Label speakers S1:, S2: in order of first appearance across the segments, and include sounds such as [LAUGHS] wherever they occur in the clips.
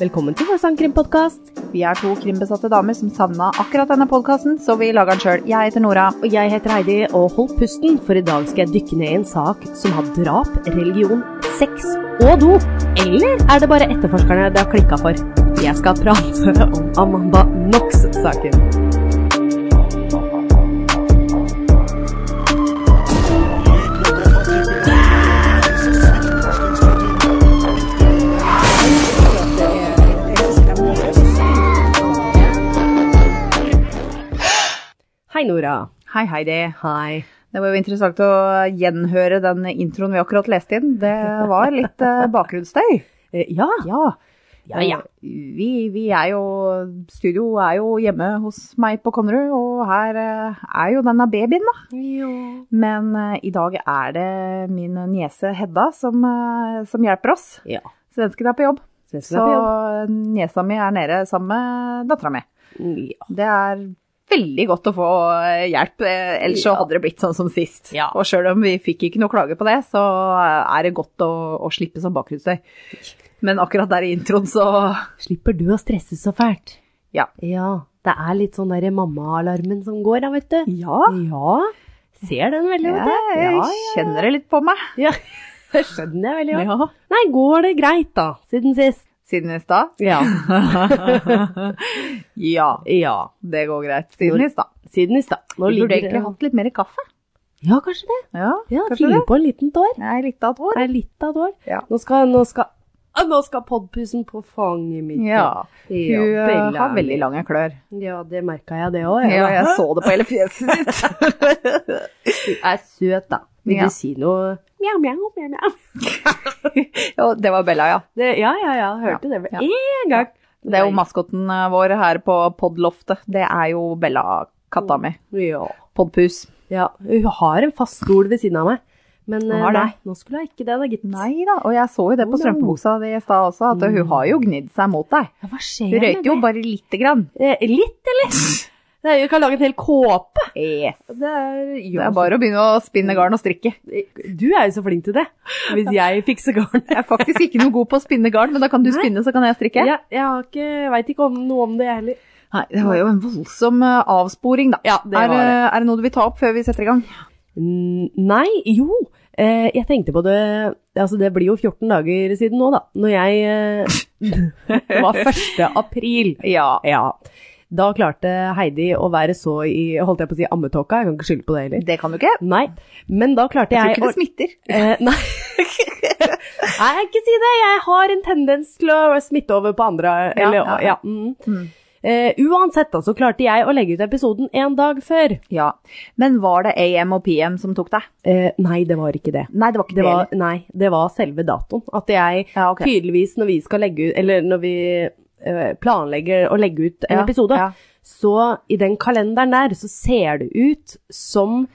S1: Velkommen til vår sangkrimpodkast.
S2: Vi er to krimbesatte damer som savna akkurat denne podkasten, så vi lager den sjøl. Jeg heter Nora.
S1: Og jeg heter Heidi, og hold pusten, for i dag skal jeg dykke ned i en sak som har drap, religion, sex og do. Eller er det bare etterforskerne det har klikka for? Jeg skal prate om Amanda Knox-saken. Hei, Nora.
S2: Hei, Heidi.
S1: Hei.
S2: Det var jo interessant å gjenhøre den introen vi akkurat leste inn. Det var litt eh, bakgrunnsstøy.
S1: Ja.
S2: Eh, Ja.
S1: Ja, ja.
S2: Vi, vi er jo Studio er jo hjemme hos meg på Konnerud, og her eh, er jo denne babyen, da. Men eh, i dag er det min niese Hedda som, eh, som hjelper oss.
S1: Ja.
S2: Svensken er på jobb,
S1: Svensken
S2: så
S1: er
S2: eh,
S1: på jobb.
S2: niesa mi er nede sammen med dattera mi.
S1: Ja.
S2: Det er veldig godt å få eh, hjelp, eh, ellers
S1: Ja.
S2: så hadde det blitt sånn som sist.
S1: Ja.
S2: Og sjøl om vi fikk ikke noe klage på det, så eh, er det godt å, å slippe sånn bakgrunnsstøy. Men akkurat der i introen, så
S1: Slipper du å stresse så fælt?
S2: Ja.
S1: Ja, det er litt sånn derre mamma-alarmen som går da, vet du.
S2: Ja,
S1: Ja, ser den veldig
S2: jeg,
S1: godt. Ja,
S2: kjenner det litt på meg.
S1: ja. [LAUGHS] Det skjønner jeg veldig godt. Nei, går det greit da, siden sist?
S2: Siden i
S1: [LAUGHS]
S2: stad?
S1: Ja.
S2: ja,
S1: Ja,
S2: det går greit. Siden i stad.
S1: siden i stad. Nå
S2: Vi
S1: ligger
S2: burde
S1: det-
S2: egentlig hatt litt mer kaffe.
S1: Ja, kanskje det.
S2: Ja,
S1: Ja,
S2: kanskje
S1: fylle
S2: det.
S1: på en liten tår.
S2: Jeg likte at vår.
S1: Det er litt av et år.
S2: Ja.
S1: Nå skal, nå skal, ah, nå skal podpusen på fanget mitt.
S2: Ja, hun
S1: Ja,
S2: eh, har
S1: Bella
S2: veldig
S1: mi.
S2: lange klør.
S1: Ja, det merket jeg det også.
S2: Ja, jeg så det på hele
S1: [LAUGHS]
S2: fjeset ditt.
S1: Du er søt da. Vil
S2: Ja.
S1: du si noe? Mjau, mjau, mjau, mjau.
S2: Ja, det var Bella, ja.
S1: Det, ja, ja, ja, hørte det med
S2: Ja.
S1: en gang.
S2: Det er jo maskotten eh, vår her på podloftet. Det er jo Bella, katta mi.
S1: Ja.
S2: Podpus.
S1: ja. Hun har en fast stol ved siden av meg. Men
S2: Hun
S1: eh,
S2: har det.
S1: nei, nå skulle jeg ikke det, da, gitt.
S2: Nei da, og jeg så jo Mm. det
S1: Oh, no.
S2: på strømpebuksa di i stad også, at hun har jo gnidd seg mot deg.
S1: Ja, hva skjer
S2: Hun røyker jo bare lite grann.
S1: Eh, litt, eller? Det er jo ikke å lage en hel kåpe.
S2: Yes.
S1: Det er,
S2: Det er bare å begynne å spinne garn og strikke.
S1: Du er jo så flink til det. Hvis jeg fikser garnet.
S2: Jeg er faktisk ikke noe god på å spinne garn, men da kan du
S1: Nei.
S2: spinne, så kan jeg strikke.
S1: Ja, jeg har ikke, veit ikke om noe om det, jeg heller.
S2: Nei, det var jo en voldsom eh, avsporing, da.
S1: Ja, det var
S2: Er,
S1: det.
S2: eh, er det noe du vil ta opp før vi setter i gang?
S1: Mm, Nei, jo. Eh, jeg tenkte på det Altså, det blir jo 14 dager siden nå, da. Når jeg eh, [LAUGHS] Det var 1. april.
S2: Ja.
S1: Ja. Da klarte Heidi å være så i Holdt jeg på å si ammetåka? Jeg kan ikke skylde på det heller.
S2: Det kan du ikke.
S1: Nei. Men da klarte
S2: Jeg tror
S1: jeg
S2: ikke
S1: å
S2: det smitter.
S1: eh, Nei. [LAUGHS] Nei, ikke si det. Jeg har en tendens til å smitte over på andre.
S2: Ja,
S1: Eller,
S2: ja,
S1: ja,
S2: ja.
S1: mm. Eh, uansett, da, så klarte jeg å legge ut episoden en dag før.
S2: Ja. Men var det AM og PM som tok deg?
S1: Eh, nei, det var ikke det.
S2: Nei, det var ikke
S1: Det
S2: det.
S1: var, nei, det var selve datoen. At jeg
S2: Ja, ok.
S1: tydeligvis, når vi skal legge ut Eller når vi eh, planlegger å legge ut en
S2: Ja,
S1: episode,
S2: ja.
S1: så i den kalenderen der, så ser det ut som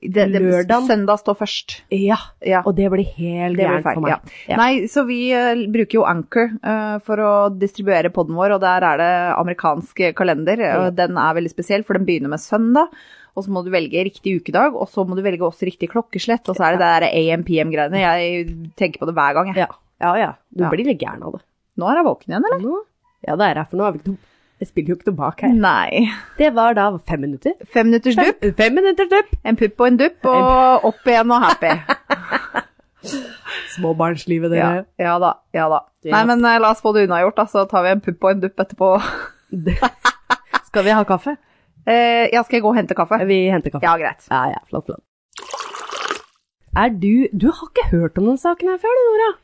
S2: det, det,
S1: Lørdagen.
S2: Søndag står først.
S1: Ja.
S2: Ja.
S1: Og det blir helt
S2: Det
S1: gærent
S2: blir feil.
S1: for meg.
S2: Ja. Nei, så vi eh, bruker jo Anchor eh, for å distribuere podden vår, og der er det amerikansk kalender. og
S1: Ja.
S2: Den er veldig spesiell, for den begynner med søndag. Og så må du velge riktig ukedag, og så må du velge også riktig klokkeslett. Og så er det det der AM-PM-greiene. Jeg tenker på det hver gang, jeg.
S1: Ja, ja. ja. Du
S2: Ja.
S1: blir litt gæren av det.
S2: Nå er jeg våken igjen, eller?
S1: Nå? Ja, det er jeg, for nå har vi ikke noe Jeg spiller jo ikke tilbake her.
S2: Nei.
S1: Det var da fem minutter.
S2: Fem minutters dupp.
S1: Fem, fem minutter dupp!
S2: En pupp og en dupp, og opp igjen og happy.
S1: [LAUGHS] Småbarnslivet,
S2: Ja,
S1: dere.
S2: ja da. Ja da. Nei,
S1: Ja.
S2: men eh, la oss få det unnagjort, da. Så tar vi en pupp og en dupp etterpå.
S1: [LAUGHS] Skal vi ha kaffe?
S2: Eh, ja, skal jeg gå og hente kaffe?
S1: Vi henter kaffe.
S2: Ja, greit.
S1: Ja, ja, flott, flott. Er du Du har ikke hørt om den saken her før, du, Nora?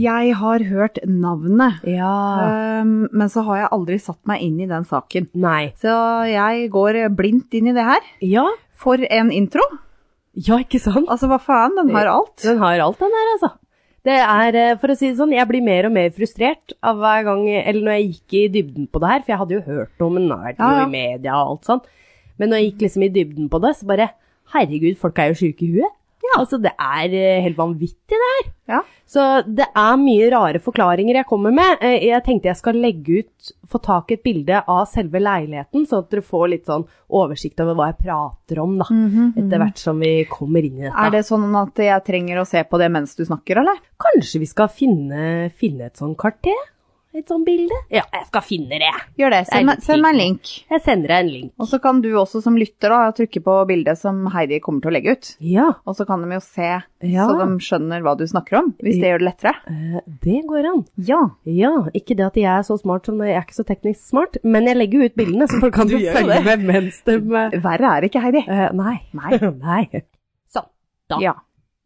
S2: Jeg har hørt navnet,
S1: Ja.
S2: øhm, men så har jeg aldri satt meg inn i den saken.
S1: Nei.
S2: Så jeg går blindt inn i det her.
S1: Ja,
S2: For en intro!
S1: ja ikke sant?
S2: Altså, hva faen, den har alt.
S1: Den har alt, den her, altså. Det er, eh, for å si det sånn, jeg blir mer og mer frustrert av hver gang, eller når jeg gikk i dybden på det her, for jeg hadde jo hørt om den, den har vært
S2: Ja, ja.
S1: jo i media og alt sånt. Men når jeg gikk liksom i dybden på det, så bare, herregud, folk er jo syke i huet. Altså, det er eh, helt vanvittig det her.
S2: Ja.
S1: Så det er mye rare forklaringer jeg kommer med. Eh, Jeg tenkte jeg skal legge ut, få tak i et bilde av selve leiligheten, sånn at dere får litt sånn oversikt over hva jeg prater om, da. Etter hvert som vi kommer inn i dette.
S2: Er det sånn at jeg trenger å se på det mens du snakker, eller?
S1: Kanskje vi skal finne, finne et sånn kart til? Et sånt bilde? Ja, jeg skal finne det.
S2: Gjør det. Send,
S1: Det er litt
S2: meg- send meg en link.
S1: Jeg sender deg en link.
S2: Og så kan du også som lytter da, trykke på bildet som Heidi kommer til å legge ut.
S1: Ja,
S2: Og så kan de jo se,
S1: Ja.
S2: så de skjønner hva du snakker om, hvis det gjør det lettere.
S1: eh, det går an.
S2: Ja.
S1: Ja, ikke det at jeg er så smart som jeg er ikke så teknisk smart, men jeg legger jo ut bildene, så folk kan jo
S2: Du gjør jo
S1: følge
S2: det.
S1: med mens de eh,
S2: Verre er det ikke, Heidi.
S1: eh, Nei. [LAUGHS]
S2: Nei.
S1: Nei. Sånn. Da
S2: Ja.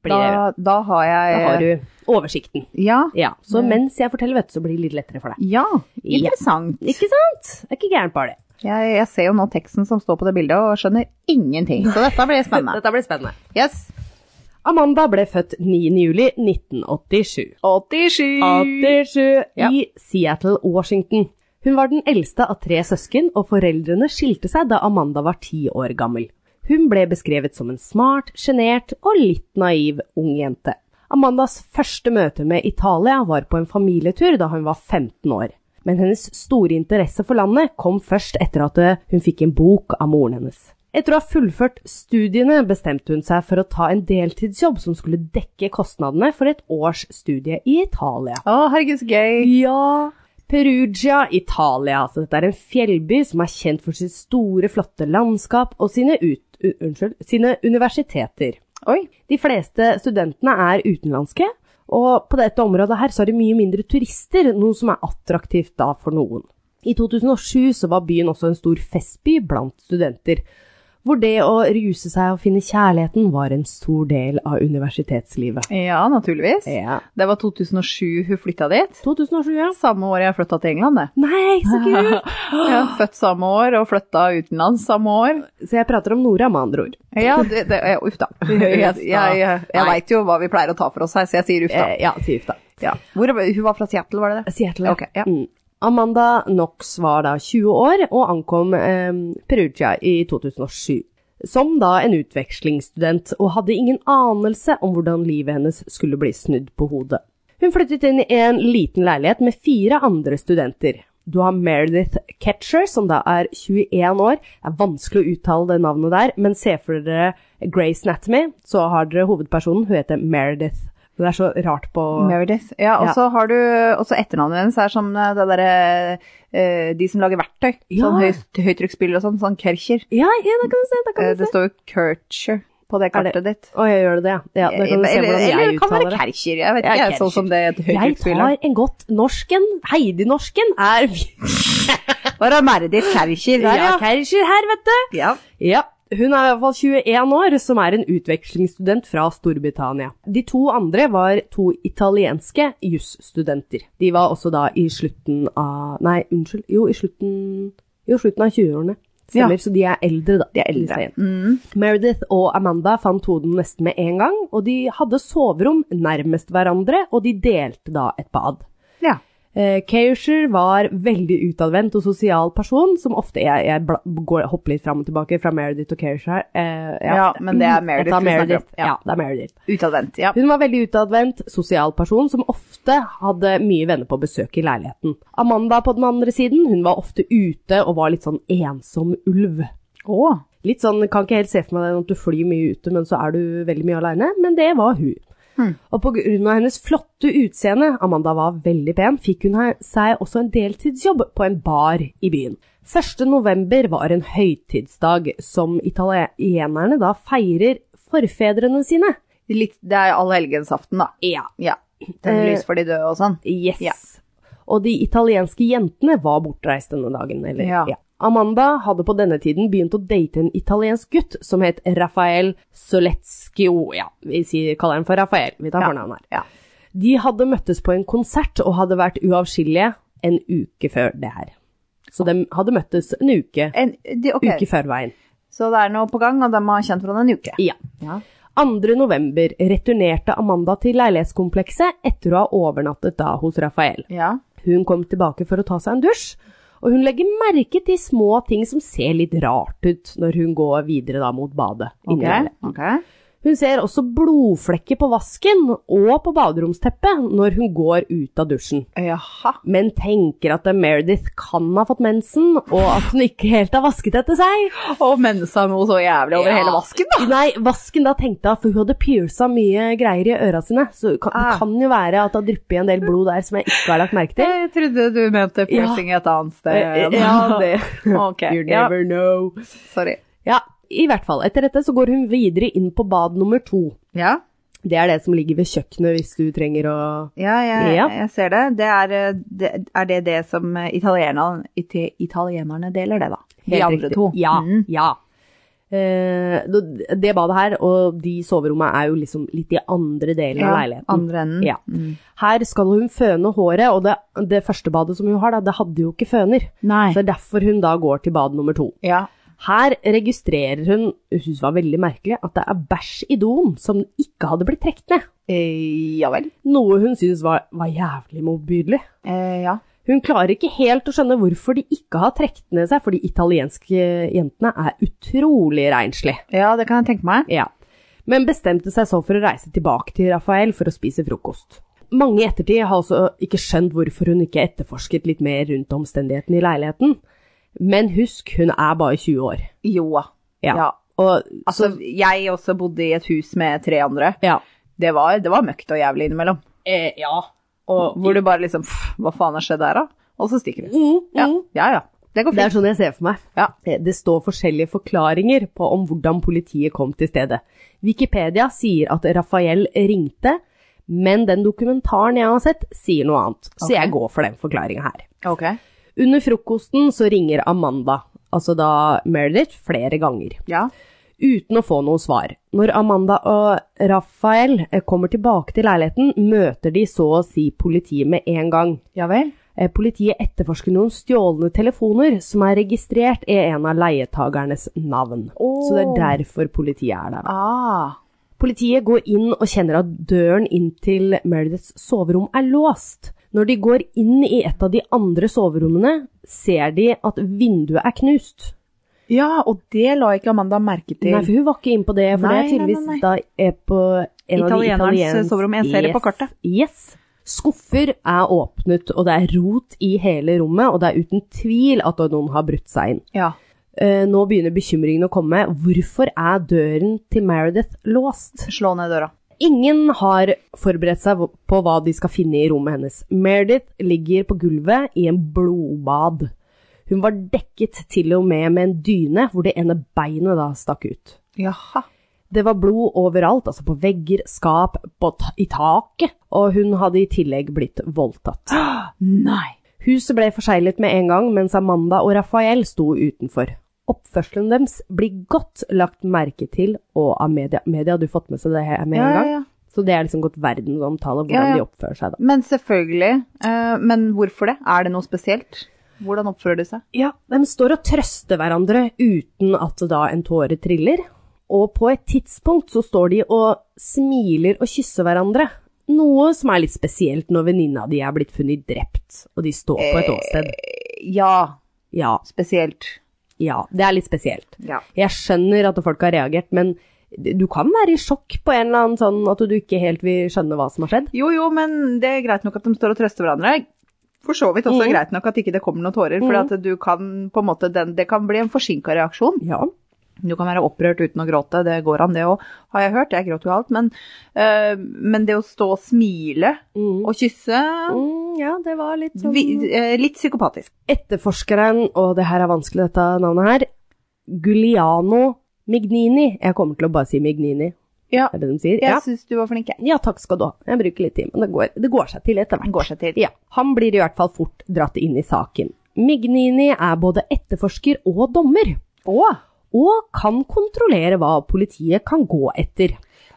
S1: blir det
S2: Da, da har jeg
S1: Da har du oversikten.
S2: Ja.
S1: Eh, Ja, så
S2: Mm.
S1: mens jeg forteller, vet du, så blir det litt lettere for deg.
S2: Ja,
S1: Ja.
S2: interessant.
S1: Ikke sant? Det er ikke gærent bare det.
S2: Jeg, jeg ser jo nå teksten som står på det bildet, og skjønner ingenting. Så dette blir spennende.
S1: [LAUGHS] Dette blir spennende.
S2: Yes.
S1: Amanda ble født 9. juli 1987.
S2: 87.
S1: 87
S2: Ja.
S1: i Seattle, Washington. Hun var den eldste av tre søsken, og foreldrene skilte seg da Amanda var ti år gammel. Hun ble beskrevet som en smart, sjenert og litt naiv ung jente. Amandas første møte med Italia var på en familietur da hun var 15 år. Men hennes store interesse for landet kom først etter at eh, hun fikk en bok av moren hennes. Etter å ha fullført studiene bestemte hun seg for å ta en deltidsjobb som skulle dekke kostnadene for et års studie i Italia.
S2: Å, herregud, så gøy.
S1: Ja, Perugia, Italia. Altså, dette er en fjellby som er kjent for sitt store, flotte landskap og sine, ut, u- unnskyld, sine universiteter.
S2: Oi.
S1: De fleste studentene er utenlandske, og på dette området her så er det mye mindre turister, noe som er attraktivt da for noen. I 2007 så var byen også en stor festby blant studenter, hvor det å ruse seg og finne kjærligheten var en stor del av universitetslivet.
S2: Ja, naturligvis.
S1: Ja.
S2: Det var 2007 hun flytta dit.
S1: 2007, ja.
S2: Samme år jeg flytta til England, det.
S1: Nei, så kult!
S2: Jeg er født samme år og flytta utenlands samme år.
S1: Så jeg prater om Nora, med andre ord.
S2: Ja, det, det, ja,
S1: [LAUGHS]
S2: uff da. Jeg, jeg, jeg, jeg
S1: Nei.
S2: veit jo hva vi pleier å ta for oss her, så jeg sier uff da.
S1: Eh, ja, sier Ufta.
S2: Ja. Hvor, hun var fra Seattle, var det det?
S1: Seattle.
S2: Ok, ja.
S1: Mm. Amanda Knox var da 20 år og ankom eh, Perugia i 2007. Som da en utvekslingsstudent, og hadde ingen anelse om hvordan livet hennes skulle bli snudd på hodet. Hun flyttet inn i en liten leilighet med fire andre studenter. Du har Meredith Ketcher, som da er 21 år. Det er vanskelig å uttale det navnet der, men se for dere Grace Anatomy, så har dere hovedpersonen. Hun heter Meredith. Det er så rart på
S2: Meredith. Ja, og
S1: Ja.
S2: så har du også etternavnet hennes er som det derre eh, De som lager verktøy.
S1: Ja.
S2: Sånn høy, høytrykksspyler og sånn. Sånn Kercher.
S1: Ja, ja, da kan du se. Da kan
S2: Eh,
S1: du
S2: Det
S1: se.
S2: står jo Kercher på det
S1: Er det-
S2: kartet ditt.
S1: Å, jeg gjør det, ja. ja da kan du se hvordan
S2: eller eller
S1: jeg
S2: det kan være
S1: uttaler det.
S2: Kercher. Jeg vet
S1: Ja,
S2: ikke, jeg er
S1: Kercher.
S2: sånn som det
S1: Jeg tar
S2: høytrykksspyler.
S1: en godt norsken. Heidi-norsken er
S2: Bare Meredith Kercher der,
S1: Ja,
S2: ja.
S1: Kercher her, vet du.
S2: ja.
S1: Ja. Hun er i hvert fall 21 år, som er en utvekslingsstudent fra Storbritannia. De to andre var to italienske jusstudenter. De var også da i slutten av Nei, unnskyld. Jo, i slutten, jo, slutten av 20-årene. Stemmer,
S2: Ja.
S1: så de er eldre, da.
S2: De er
S1: disse
S2: eldre.
S1: jentene.
S2: Mm.
S1: Meredith og Amanda fant hoden nesten med en gang, og de hadde soverom nærmest hverandre, og de delte da et bad.
S2: Ja.
S1: Eh, Keisher var veldig utadvendt og sosial person, som ofte Jeg, jeg bla, går, hopper litt fram og tilbake fra Meredith og Keisher her. Eh,
S2: Ja, men det er Meredith
S1: Dette er
S2: vi snakker om.
S1: Meredith.
S2: Ja.
S1: Ja. det er Meredith.
S2: Utadvendt. Ja.
S1: Hun var veldig utadvendt, sosial person, som ofte hadde mye venner på besøk i leiligheten. Amanda på den andre siden, hun var ofte ute og var litt sånn ensom ulv.
S2: Å.
S1: Litt sånn, kan ikke helt se for meg den at du flyr mye ute, men så er du veldig mye alene, men det var hun. Og på grunn av hennes flotte utseende, Amanda var veldig pen, fikk hun her- seg også en deltidsjobb på en bar i byen. 1. november var en høytidsdag som italienerne da feirer forfedrene sine.
S2: Litt, det er allhelgensaften, da.
S1: Ja,
S2: Ja. Tenne
S1: Eh.
S2: lys for de døde og sånn.
S1: Yes.
S2: Ja.
S1: Og de italienske jentene var bortreist denne dagen. Eller,
S2: Ja.
S1: Amanda hadde på denne tiden begynt å date en italiensk gutt som het Rafael Soletskio. Ja, vi sier, kaller han for Rafael. Vi tar
S2: Ja.
S1: fornavnet her.
S2: Ja.
S1: De hadde møttes på en konsert og hadde vært uavskillige en uke før det her. Så de hadde møttes en uke,
S2: En, de, ok.
S1: uke før veien.
S2: Så det er noe på gang, og de har kjent hverandre en uke.
S1: Ja. 2. november returnerte Amanda til leilighetskomplekset etter å ha overnattet da hos Rafael.
S2: Ja.
S1: Hun kom tilbake for å ta seg en dusj, og hun legger merke til små ting som ser litt rart ut når hun går videre da mot badet.
S2: Ok.
S1: inni leiligheten.
S2: ok.
S1: Hun ser også blodflekker på vasken og på baderomsteppet når hun går ut av dusjen,
S2: Jaha.
S1: men tenker at Meredith kan ha fått mensen, og at hun ikke helt har vasket etter seg.
S2: Og mensa noe så jævlig over
S1: Ja.
S2: hele vasken, da.
S1: Nei, vasken da tenkte jeg, for hun hadde pierca mye greier i øra sine, så det kan, det
S2: Ah.
S1: kan jo være at det har dryppet en del blod der som jeg ikke har lagt merke til.
S2: Jeg trodde du mente piercing et annet sted. [LAUGHS]
S1: Ja, det-
S2: Eh, Ok,
S1: You
S2: ja,
S1: never know.
S2: sorry.
S1: Ja, i hvert fall. Etter dette så går hun videre inn på bad nummer to.
S2: Ja,
S1: Det er det som ligger ved kjøkkenet hvis du trenger å
S2: ja, jeg,
S1: Ja.
S2: jeg ser det. det er eh, det, er det det som eh, italienerne, ite- italienerne deler, det da? De
S1: Helt
S2: andre
S1: riktig.
S2: to.
S1: Ja.
S2: Mm.
S1: ja. Eh, det- det badet her og de soverommene er jo liksom litt i andre delen av
S2: ja.
S1: leiligheten.
S2: Andre enden.
S1: Ja.
S2: Mm.
S1: Her skal hun føne håret, og det, det første badet som hun har, da, det hadde jo ikke føner.
S2: Nei.
S1: Så det er derfor hun da går til bad nummer to.
S2: Ja.
S1: Her registrerer hun, hun synes det var veldig merkelig, at det er bæsj i doen som ikke hadde blitt trukket ned.
S2: Eh, ja vel.
S1: Noe hun synes var, var jævlig motbydelig.
S2: Eh, ja.
S1: Hun klarer ikke helt å skjønne hvorfor de ikke har trukket ned seg, for de italienske jentene er utrolig renslige.
S2: ja, det kan jeg tenke meg.
S1: Ja. Men bestemte seg så for å reise tilbake til Rafael for å spise frokost. Mange i ettertid har altså ikke skjønt hvorfor hun ikke etterforsket litt mer rundt omstendighetene i leiligheten. Men husk, hun er bare 20 år.
S2: Jo.
S1: Ja.
S2: ja.
S1: Og
S2: Altså, jeg også bodde i et hus med tre andre.
S1: ja.
S2: Det var, det var møkt og jævlig innimellom.
S1: Eh, ja.
S2: Og, hvor du bare liksom pff, Hva faen har skjedd her, da? Og så stikker du.
S1: Mm,
S2: Ja,
S1: mm.
S2: ja. ja. Mhm. Det går
S1: Det er
S2: fint.
S1: sånn jeg ser for meg.
S2: Ja.
S1: Eh, Det står forskjellige forklaringer på om hvordan politiet kom til stedet. Wikipedia sier at Rafael ringte, men den dokumentaren jeg har sett, sier noe annet. Så
S2: Ok.
S1: jeg går for den forklaringa her.
S2: Ok.
S1: Under frokosten så ringer Amanda, altså da Meredith, flere ganger.
S2: Ja.
S1: Uten å få noe svar. Når Amanda og Rafael eh, kommer tilbake til leiligheten, møter de så å si politiet med en gang.
S2: Ja vel.
S1: Eh, Politiet etterforsker noen stjålne telefoner som er registrert i en av leietagernes navn.
S2: Åh.
S1: Så det er derfor politiet er der. da.
S2: Ah.
S1: Politiet går inn og kjenner at døren inn til Merediths soverom er låst. Når de går inn i et av de andre soverommene, ser de at vinduet er knust.
S2: Ja, og det la ikke Amanda merke til.
S1: Nei, for hun var ikke inne på det, for
S2: Nei,
S1: det er tydeligvis
S2: nei, nei, nei.
S1: da er på en av de
S2: Italienerens
S1: italienske
S2: soverom. Jeg ser det på kartet.
S1: Yes. Skuffer er åpnet, og det er rot i hele rommet, og det er uten tvil at noen har brutt seg inn.
S2: Ja.
S1: Eh, nå begynner bekymringen å komme. Hvorfor er døren til Meredith låst?
S2: Slå ned døra.
S1: Ingen har forberedt seg på hva de skal finne i rommet hennes. Meredith ligger på gulvet i en blodbad. Hun var dekket til og med med en dyne hvor det ene beinet da stakk ut.
S2: Jaha.
S1: Det var blod overalt, altså på vegger, skap, på ta i taket, og hun hadde i tillegg blitt voldtatt.
S2: Nei.
S1: Huset ble forseglet med en gang, mens Amanda og Rafael sto utenfor. Oppførselen deres blir godt lagt merke til, og av media, media hadde jo fått med seg det her med
S2: Ja,
S1: en
S2: ja,
S1: gang,
S2: ja.
S1: så det er liksom gått verdensomtale hvordan
S2: Ja, ja.
S1: de oppfører seg da.
S2: Men selvfølgelig. eh, men hvorfor det? Er det noe spesielt? Hvordan oppfører de seg?
S1: Ja, de står og trøster hverandre uten at da en tåre triller. Og på et tidspunkt så står de og smiler og kysser hverandre. Noe som er litt spesielt når venninna di er blitt funnet drept, og de står på et åsted.
S2: Eh, Ja,
S1: Ja,
S2: spesielt.
S1: ja, det er litt spesielt.
S2: Ja.
S1: Jeg skjønner at folk har reagert, men du kan være i sjokk på en eller annen sånn at du ikke helt vil skjønne hva som har skjedd.
S2: Jo, jo, men det er greit nok at de står og trøster hverandre. For så vidt også
S1: Mm.
S2: greit nok at ikke det kommer noen tårer, for at du kan på en måte, den, det kan bli en forsinka reaksjon.
S1: Ja.
S2: Du kan være opprørt uten å gråte, det går an det òg, har jeg hørt. Jeg gråter jo alt, men, øh, men det å stå og smile
S1: Mm.
S2: og kysse
S1: Mm, ja, det var litt sånn
S2: vi, eh, Litt psykopatisk.
S1: etterforskeren, og det her er vanskelig dette navnet her, Giuliano Mignini. Jeg kommer til å bare si Mignini,
S2: Ja,
S1: er det de sier?
S2: jeg
S1: Ja.
S2: syns du var flink, jeg.
S1: ja, takk skal du ha. Jeg bruker litt tid, men det går, det går seg til etter hvert.
S2: Går seg til.
S1: Ja, han blir i hvert fall fort dratt inn i saken. Mignini er både etterforsker og dommer,
S2: Å!
S1: og kan kontrollere hva politiet kan gå etter.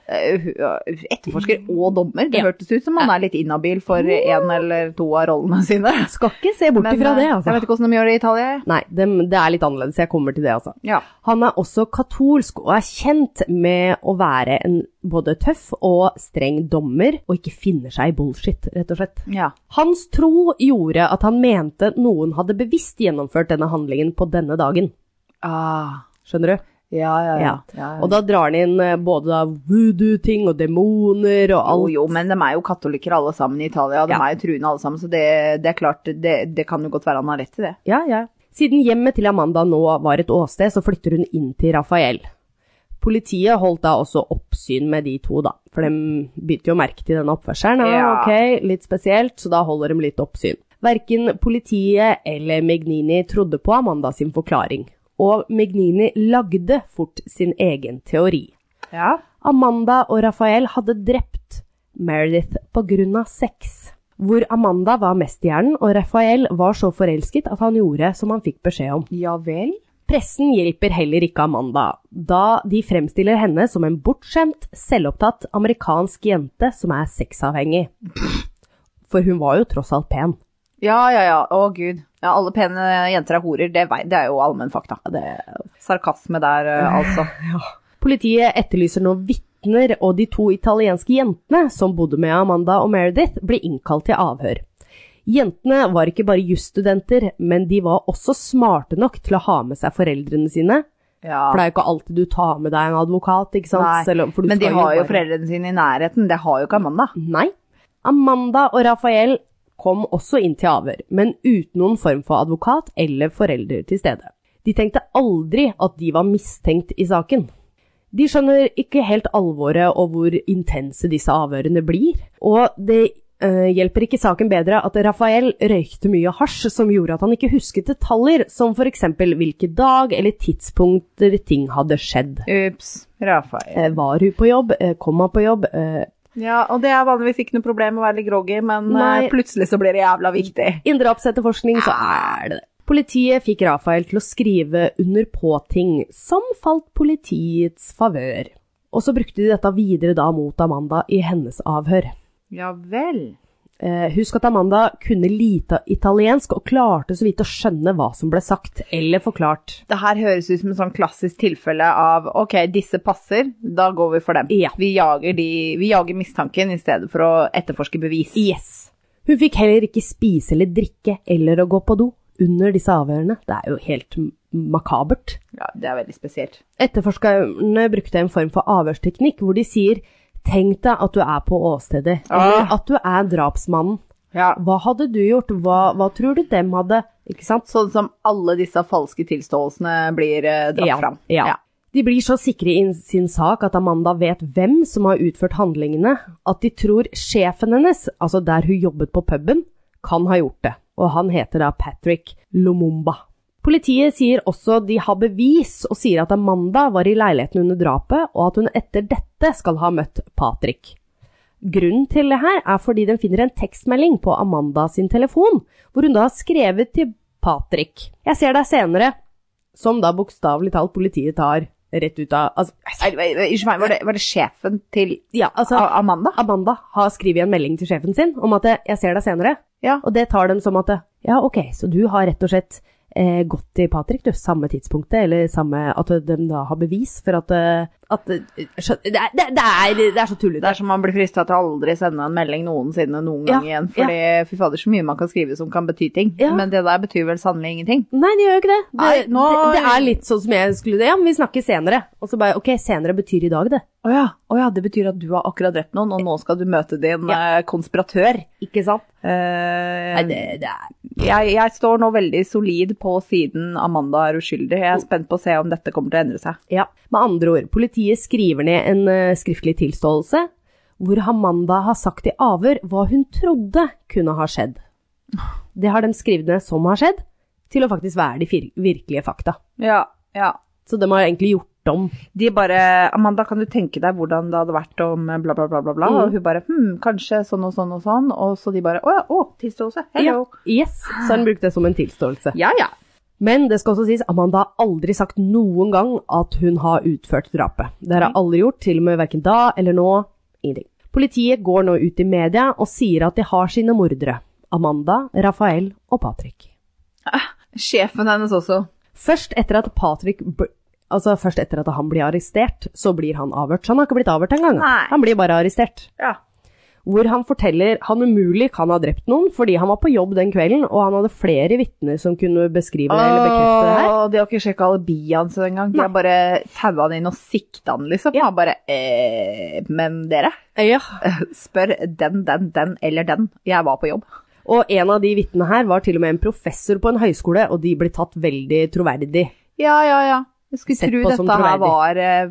S2: Eh, hu- eh, Etterforsker og dommer. Det
S1: Ja.
S2: hørtes ut som han er litt inhabil for én eller to av rollene sine.
S1: Skal ikke se bort
S2: Men,
S1: ifra det,
S2: eh,
S1: altså.
S2: Jeg vet ikke hvordan de gjør det i Italia. jeg.
S1: Nei, dem- det er litt annerledes. Jeg kommer til det, altså.
S2: Ja.
S1: Han er også katolsk og er kjent med å være en både tøff og streng dommer, og ikke finner seg i bullshit, rett og slett.
S2: ja.
S1: Hans tro gjorde at han mente noen hadde bevisst gjennomført denne handlingen på denne dagen.
S2: Ah.
S1: Skjønner du?
S2: Ja, ja, ja.
S1: Ja. Og da drar han inn eh, både da voodoo-ting og demoner og
S2: jo,
S1: alt.
S2: jo, men de er jo katolikker alle sammen i Italia. De
S1: Ja.
S2: er jo truende alle sammen, så det, det er klart, det, det kan jo godt være han har rett til det.
S1: Ja, ja. Siden hjemmet til Amanda nå var et åsted, så flytter hun inn til Rafael. Politiet holdt da også oppsyn med de to, da. For de begynte jo å merke til denne oppførselen. Ja,
S2: Ja.
S1: ok, litt spesielt, så da holder de litt oppsyn. Verken politiet eller Megnini trodde på Amanda sin forklaring. Og Megnini lagde fort sin egen teori.
S2: Ja.
S1: Amanda og Rafael hadde drept Meredith på grunn av sex. Hvor Amanda var mesterhjernen, og Rafael var så forelsket at han gjorde som han fikk beskjed om.
S2: Ja vel?
S1: Pressen hjelper heller ikke Amanda, da de fremstiller henne som en bortskjemt, selvopptatt amerikansk jente som er sexavhengig. For hun var jo tross alt pen.
S2: Ja, ja, ja. Å, gud. Ja, alle pene jenter er horer. Det, vei- det er jo allmenn fakta. Sarkasme der, eh, altså.
S1: Politiet etterlyser nå vitner, og de to italienske jentene som bodde med Amanda og Meredith, ble innkalt til avhør. Jentene var ikke bare jusstudenter, men de var også smarte nok til å ha med seg foreldrene sine.
S2: Ja.
S1: For det er jo ikke alltid du tar med deg en advokat, ikke sant?
S2: Nei,
S1: Selv om- for du
S2: Men de
S1: skal
S2: har jo
S1: bare-
S2: foreldrene sine i nærheten. Det har jo ikke Amanda.
S1: Nei. Amanda og Rafael kom også inn til avhør, men uten noen form for advokat eller forelder til stede. De tenkte aldri at de var mistenkt i saken. De skjønner ikke helt alvoret og hvor intense disse avhørene blir, og det eh, hjelper ikke saken bedre at Rafael røykte mye hasj som gjorde at han ikke husket detaljer, som for eksempel hvilke dag eller tidspunkter ting hadde skjedd.
S2: Ups. Rafael.
S1: Eh, Var hun på jobb? Eh, Kom hun på jobb? Eh,
S2: Ja, og det er vanligvis ikke noe problem å være litt groggy, men
S1: Nei.
S2: eh, plutselig så blir det jævla viktig.
S1: Innen drapsetterforskning så er det det. Politiet fikk Rafael til å skrive under på ting som falt politiets favør. Og så brukte de dette videre da mot Amanda i hennes avhør.
S2: Ja vel.
S1: Eh, husk at Amanda kunne lite italiensk og klarte så vidt å skjønne hva som ble sagt eller forklart.
S2: Det her høres ut som et sånn klassisk tilfelle av ok, disse passer, da går vi for dem.
S1: Ja.
S2: Vi, jager de, vi jager mistanken i stedet for å etterforske bevis.
S1: Yes. Hun fikk heller ikke spise eller drikke eller å gå på do under disse avhørene. Det er jo helt m- makabert.
S2: Ja, det er veldig spesielt.
S1: Etterforskerne brukte en form for avhørsteknikk hvor de sier Tenk deg at du er på åstedet, eller
S2: Ah.
S1: at du er drapsmannen.
S2: Ja.
S1: Hva hadde du gjort? Hva, hva tror du dem hadde? Ikke sant?
S2: Sånn som alle disse falske tilståelsene blir eh, dratt
S1: Ja,
S2: fram.
S1: ja. De blir så sikre i sin sak at Amanda vet hvem som har utført handlingene, at de tror sjefen hennes, altså der hun jobbet på puben, kan ha gjort det. Og han heter da Patrick Lumumba. Politiet sier også de har bevis, og sier at Amanda var i leiligheten under drapet, og at hun etter dette skal ha møtt Patrick. Grunnen til det her er fordi den finner en tekstmelding på Amanda sin telefon, hvor hun da har skrevet til Patrick. Jeg ser deg senere, som da bokstavelig talt politiet tar rett ut av altså,
S2: Nei, Ah. nei, Unnskyld meg, var det, var det sjefen til
S1: Ja, altså
S2: A- Amanda?
S1: Amanda har skrevet en melding til sjefen sin om at eh, 'jeg ser deg senere',
S2: Ja.
S1: og det tar dem som at eh, 'ja, ok, så du har rett og slett eh, gått til Patrick, du, samme tidspunktet', eller samme At de da har bevis for at, eh, at eh, skjøn- det, er, det, det, er, det er så
S2: Det
S1: tullete.
S2: er som man blir frista til å aldri sende en melding noensinne noen
S1: Ja,
S2: gang igjen. Fordi fy fader, så mye man kan skrive som kan bety ting.
S1: Ja.
S2: Men det der betyr vel sannelig ingenting.
S1: Nei, det gjør jo ikke det. Det,
S2: Nei, nå-
S1: det. det er litt sånn som jeg skulle Ja, men vi snakkes senere. Og så bare Ok, senere betyr i dag, det.
S2: Å ja, å ja, det betyr at du har akkurat drept noen, og nå skal du møte din eh, konspiratør.
S1: Ikke sant?
S2: Eh,
S1: Nei, det, det er
S2: jeg, jeg står nå veldig solid på siden Amanda er uskyldig. Jeg er spent på å se om dette kommer til å endre seg.
S1: Ja, med andre ord, politiet skriver ned en eh, skriftlig tilståelse hvor Amanda har sagt i avhør hva hun trodde kunne ha skjedd. Det har de skrevet ned som har skjedd, til å faktisk være de fir- virkelige fakta.
S2: Ja, ja.
S1: Så de har egentlig gjort om.
S2: De bare 'Amanda, kan du tenke deg hvordan det hadde vært om bla, bla, bla, bla, bla?'
S1: Mm.
S2: Og hun bare 'Hm, kanskje sånn og sånn og sånn', og så de bare 'Å ja, å, tilståelse. Hello'.
S1: Ja, yes, så han brukte det som en tilståelse.
S2: Ja, ja.
S1: Men det skal også sies, Amanda har aldri sagt noen gang at hun har utført drapet. Det
S2: Mm.
S1: har hun aldri gjort, til og med hverken da eller nå. Ingenting. Politiet går nå ut i media og sier at de har sine mordere. Amanda, Rafael og Patrick.
S2: Sjefen hennes også.
S1: Først etter at Patrick bl- Altså, først etter at han blir arrestert, så blir han avhørt. Så han har ikke blitt avhørt engang.
S2: Nei.
S1: Han blir bare arrestert.
S2: Ja.
S1: hvor han forteller han umulig kan ha drept noen fordi han var på jobb den kvelden, og han hadde flere vitner som kunne beskrive det eller bekrefte det her.
S2: Åh, de har ikke sjekka alibiet hans engang. De har bare taua han inn og sikta han, liksom.
S1: Ja.
S2: Han bare eh, Men dere,
S1: Ja.
S2: spør den, den, den eller den. Jeg var på jobb.
S1: Og en av de vitnene her var til og med en professor på en høyskole, og de ble tatt veldig troverdig.
S2: Ja, ja, ja. Jeg skulle
S1: Sett
S2: tro
S1: på
S2: dette
S1: som
S2: her
S1: troverdig.
S2: var eh,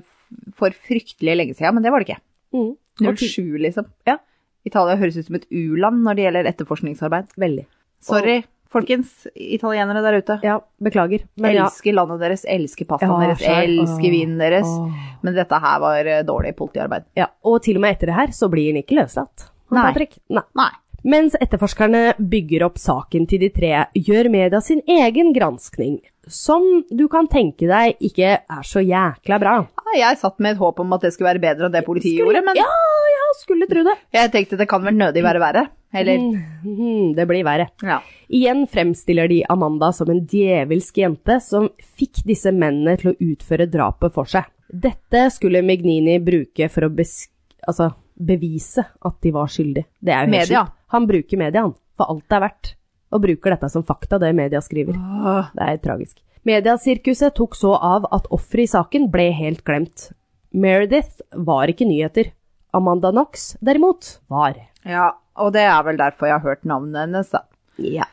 S2: for fryktelig lenge siden, men det var det ikke.
S1: Og ti-
S2: 07, liksom.
S1: Ja.
S2: Italia høres ut som et u-land når det gjelder etterforskningsarbeid.
S1: Veldig.
S2: Sorry, folkens italienere der ute.
S1: Ja, beklager. Men ja.
S2: elsker landet deres, elsker pastaen
S1: Ja,
S2: deres,
S1: skjønner.
S2: elsker
S1: Åh,
S2: vinen deres.
S1: åh.
S2: Men dette her var eh, dårlig politiarbeid.
S1: ja. Og til og med etter det her så blir han ikke løslatt. Han
S2: Nei.
S1: Patrick. Nei.
S2: Nei.
S1: Mens etterforskerne bygger opp saken til de tre, gjør media sin egen granskning, som du kan tenke deg ikke er så jækla bra.
S2: Nei, Ah, Jeg satt med et håp om at det skulle være bedre enn det politiet gjorde, men
S1: Ja, ja, skulle tro det.
S2: jeg tenkte det kan vel nødig være verre. Eller
S1: Mhm, Det blir verre.
S2: ja.
S1: Igjen fremstiller de Amanda som en djevelsk jente som fikk disse mennene til å utføre drapet for seg. Dette skulle Mignini bruke for å besk altså, bevise at de var skyldige. Det er jo helt
S2: Media.
S1: sjukt. Han bruker media, han, for alt det er verdt, og bruker dette som fakta, det media skriver.
S2: Åh,
S1: Det er tragisk. Mediasirkuset tok så av at offeret i saken ble helt glemt. Meredith var ikke nyheter. Amanda Knox, derimot, var.
S2: ja. Og det er vel derfor jeg har hørt navnet hennes, da.
S1: Ja.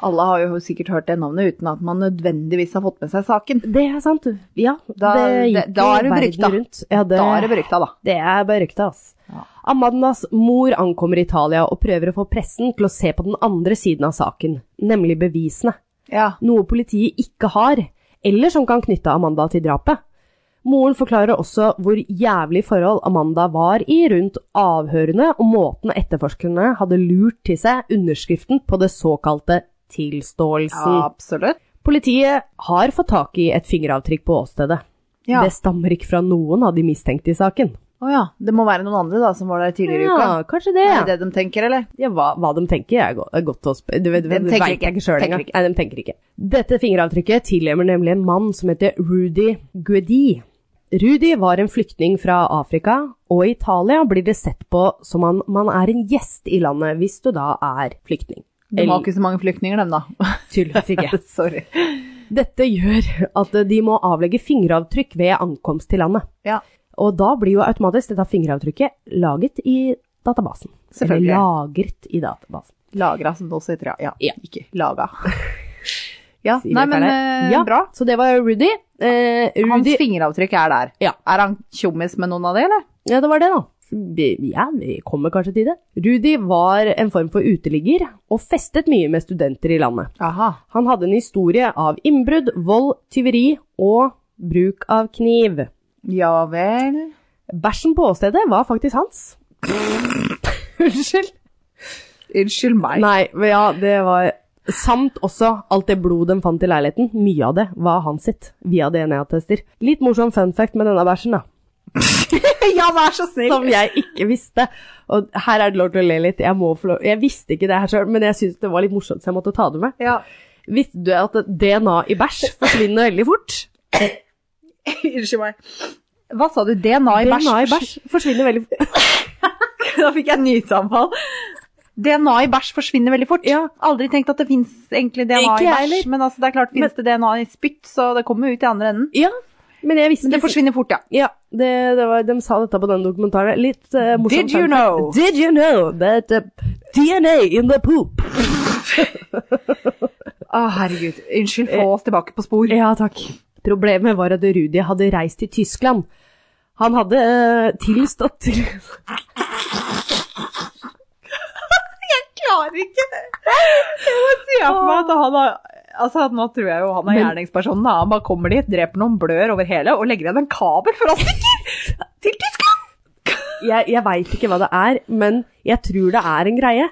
S2: Alle har jo sikkert hørt det navnet uten at man nødvendigvis har fått med seg saken.
S1: Det er sant, du. Ja,
S2: Da-
S1: det gikk
S2: det- da
S1: jo
S2: er du
S1: verden
S2: brukta.
S1: rundt. Ja, det,
S2: Da er det berykta, da.
S1: det er berykta, ass.
S2: Ja.
S1: Amandas mor ankommer Italia og prøver å få pressen til å se på den andre siden av saken, nemlig bevisene.
S2: Ja.
S1: Noe politiet ikke har, eller som kan knytte Amanda til drapet. Moren forklarer også hvor jævlig forhold Amanda var i rundt avhørene og måten etterforskerne hadde lurt til seg underskriften på det såkalte tilståelsen.
S2: Absolutt.
S1: Politiet har fått tak i et fingeravtrykk på åstedet.
S2: Ja.
S1: Det stammer ikke fra noen av de mistenkte i saken.
S2: Å ja. Det må være noen andre da som var der tidligere i uka.
S1: Ja, kanskje det.
S2: Er det det de tenker, eller?
S1: Ja, hva, hva de tenker er go- er godt å spørre. Du vet,
S2: De
S1: det
S2: tenker
S1: vet
S2: ikke.
S1: jeg ikke sjøl
S2: Tenker
S1: engang.
S2: ikke.
S1: Nei, de tenker ikke. Dette fingeravtrykket tilhører nemlig en mann som heter Rudy Guedi. Rudy var en flyktning fra Afrika, og i Italia blir det sett på som om man er en gjest i landet, hvis du da er flyktning.
S2: De har ikke så mange flyktninger, dem da.
S1: Tydeligvis ikke.
S2: [LAUGHS] Sorry.
S1: Dette gjør at de må avlegge fingeravtrykk ved ankomst til landet.
S2: Ja.
S1: Og da blir jo automatisk dette fingeravtrykket laget i databasen.
S2: Selvfølgelig.
S1: Eller lagret i databasen.
S2: Lagra, som det også heter. sånn Ja.
S1: Ja.
S2: Ikke
S1: [LAUGHS]
S2: laga. Ja,
S1: Sier
S2: nei,
S1: dere
S2: men
S1: det?
S2: eh,
S1: ja,
S2: bra.
S1: Så det var Rudy. Eh,
S2: Hans
S1: Rudy
S2: fingeravtrykk er der.
S1: Ja.
S2: Er han tjommis med noen av det, eller?
S1: Ja, det var det, da. Vi- Ja, vi kommer kanskje til det. Rudy var en form for uteligger, og festet mye med studenter i landet.
S2: Aha.
S1: Han hadde en historie av innbrudd, vold, tyveri og bruk av kniv.
S2: Ja vel.
S1: Bæsjen på åstedet var faktisk hans. [LAUGHS] Unnskyld.
S2: Unnskyld meg.
S1: Nei, men ja, det var Samt også alt det blodet de fant i leiligheten. Mye av det var hans sitt, via DNA-tester. Litt morsom fun fact med denne bæsjen, da.
S2: [LAUGHS] ja, vær så snill.
S1: Som jeg ikke visste. Og her er det lov til å le litt. Jeg, må få lov. jeg visste ikke det her sjøl, men jeg syntes det var litt morsomt, så jeg måtte ta det med.
S2: Ja.
S1: [LAUGHS] Visste du at DNA i bæsj forsvinner veldig fort?
S2: Unnskyld meg. Hva sa du? DNA i bæsj?
S1: DNA i bæsj forsvinner veldig fort.
S2: [LAUGHS] Da fikk jeg nysamfall. DNA i bæsj forsvinner veldig fort.
S1: Ja.
S2: Aldri tenkt at det fins egentlig DNA
S1: Ikke
S2: i
S1: jeg
S2: bæsj.
S1: heller.
S2: Men altså, det er klart fins det DNA i spytt, så det kommer jo ut i andre enden.
S1: Ja, men jeg visste
S2: Men det forsvinner fort, ja.
S1: Ja, det, det var, de sa dette på den dokumentaren. Litt eh, morsomt.
S2: Did you
S1: fun fact.
S2: know?
S1: Did you know that uh, DNA in the poop?
S2: Å, herregud. Unnskyld, få oss tilbake på spor.
S1: Ja, takk. Problemet var at Rudi hadde reist til Tyskland. Han hadde eh, tilstått [LAUGHS] til
S2: Jeg klarer ikke det. Jeg må se for meg at han har Altså, Nå tror jeg jo han er
S1: Men-
S2: gjerningspersonen. da. Han bare kommer dit, dreper noen, blør over hele og legger igjen en kabel før han stikker til Tyskland.
S1: Jeg, jeg veit ikke hva det er, men jeg tror det er en greie.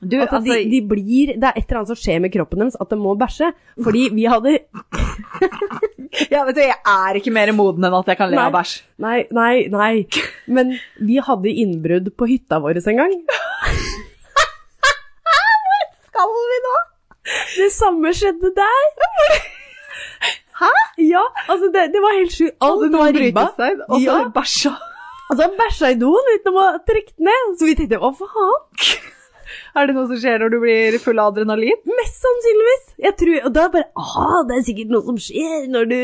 S2: Du, altså,
S1: At de, de blir, Det er et eller annet som skjer med kroppen deres, at de må bæsje. Fordi vi hadde
S2: ja, vet du, Jeg er ikke mer moden enn at jeg kan le av
S1: Nei.
S2: bæsj.
S1: Nei, nei, nei. Men vi hadde innbrudd på hytta vår en gang.
S2: Skal vi nå?
S1: Det samme skjedde der. Hæ? Ja, altså det, det var helt sjukt. Alt
S2: Hadde noen
S1: var ribba.
S2: brytet seg, og så
S1: Ja.
S2: bæsja.
S1: Altså, han bæsja i doen uten å trekke den ned, så vi tenkte hva faen?
S2: Er det noe som skjer når du blir full av adrenalin?
S1: Mest sannsynligvis. Jeg tror, og da bare ah, det er sikkert noe som skjer når du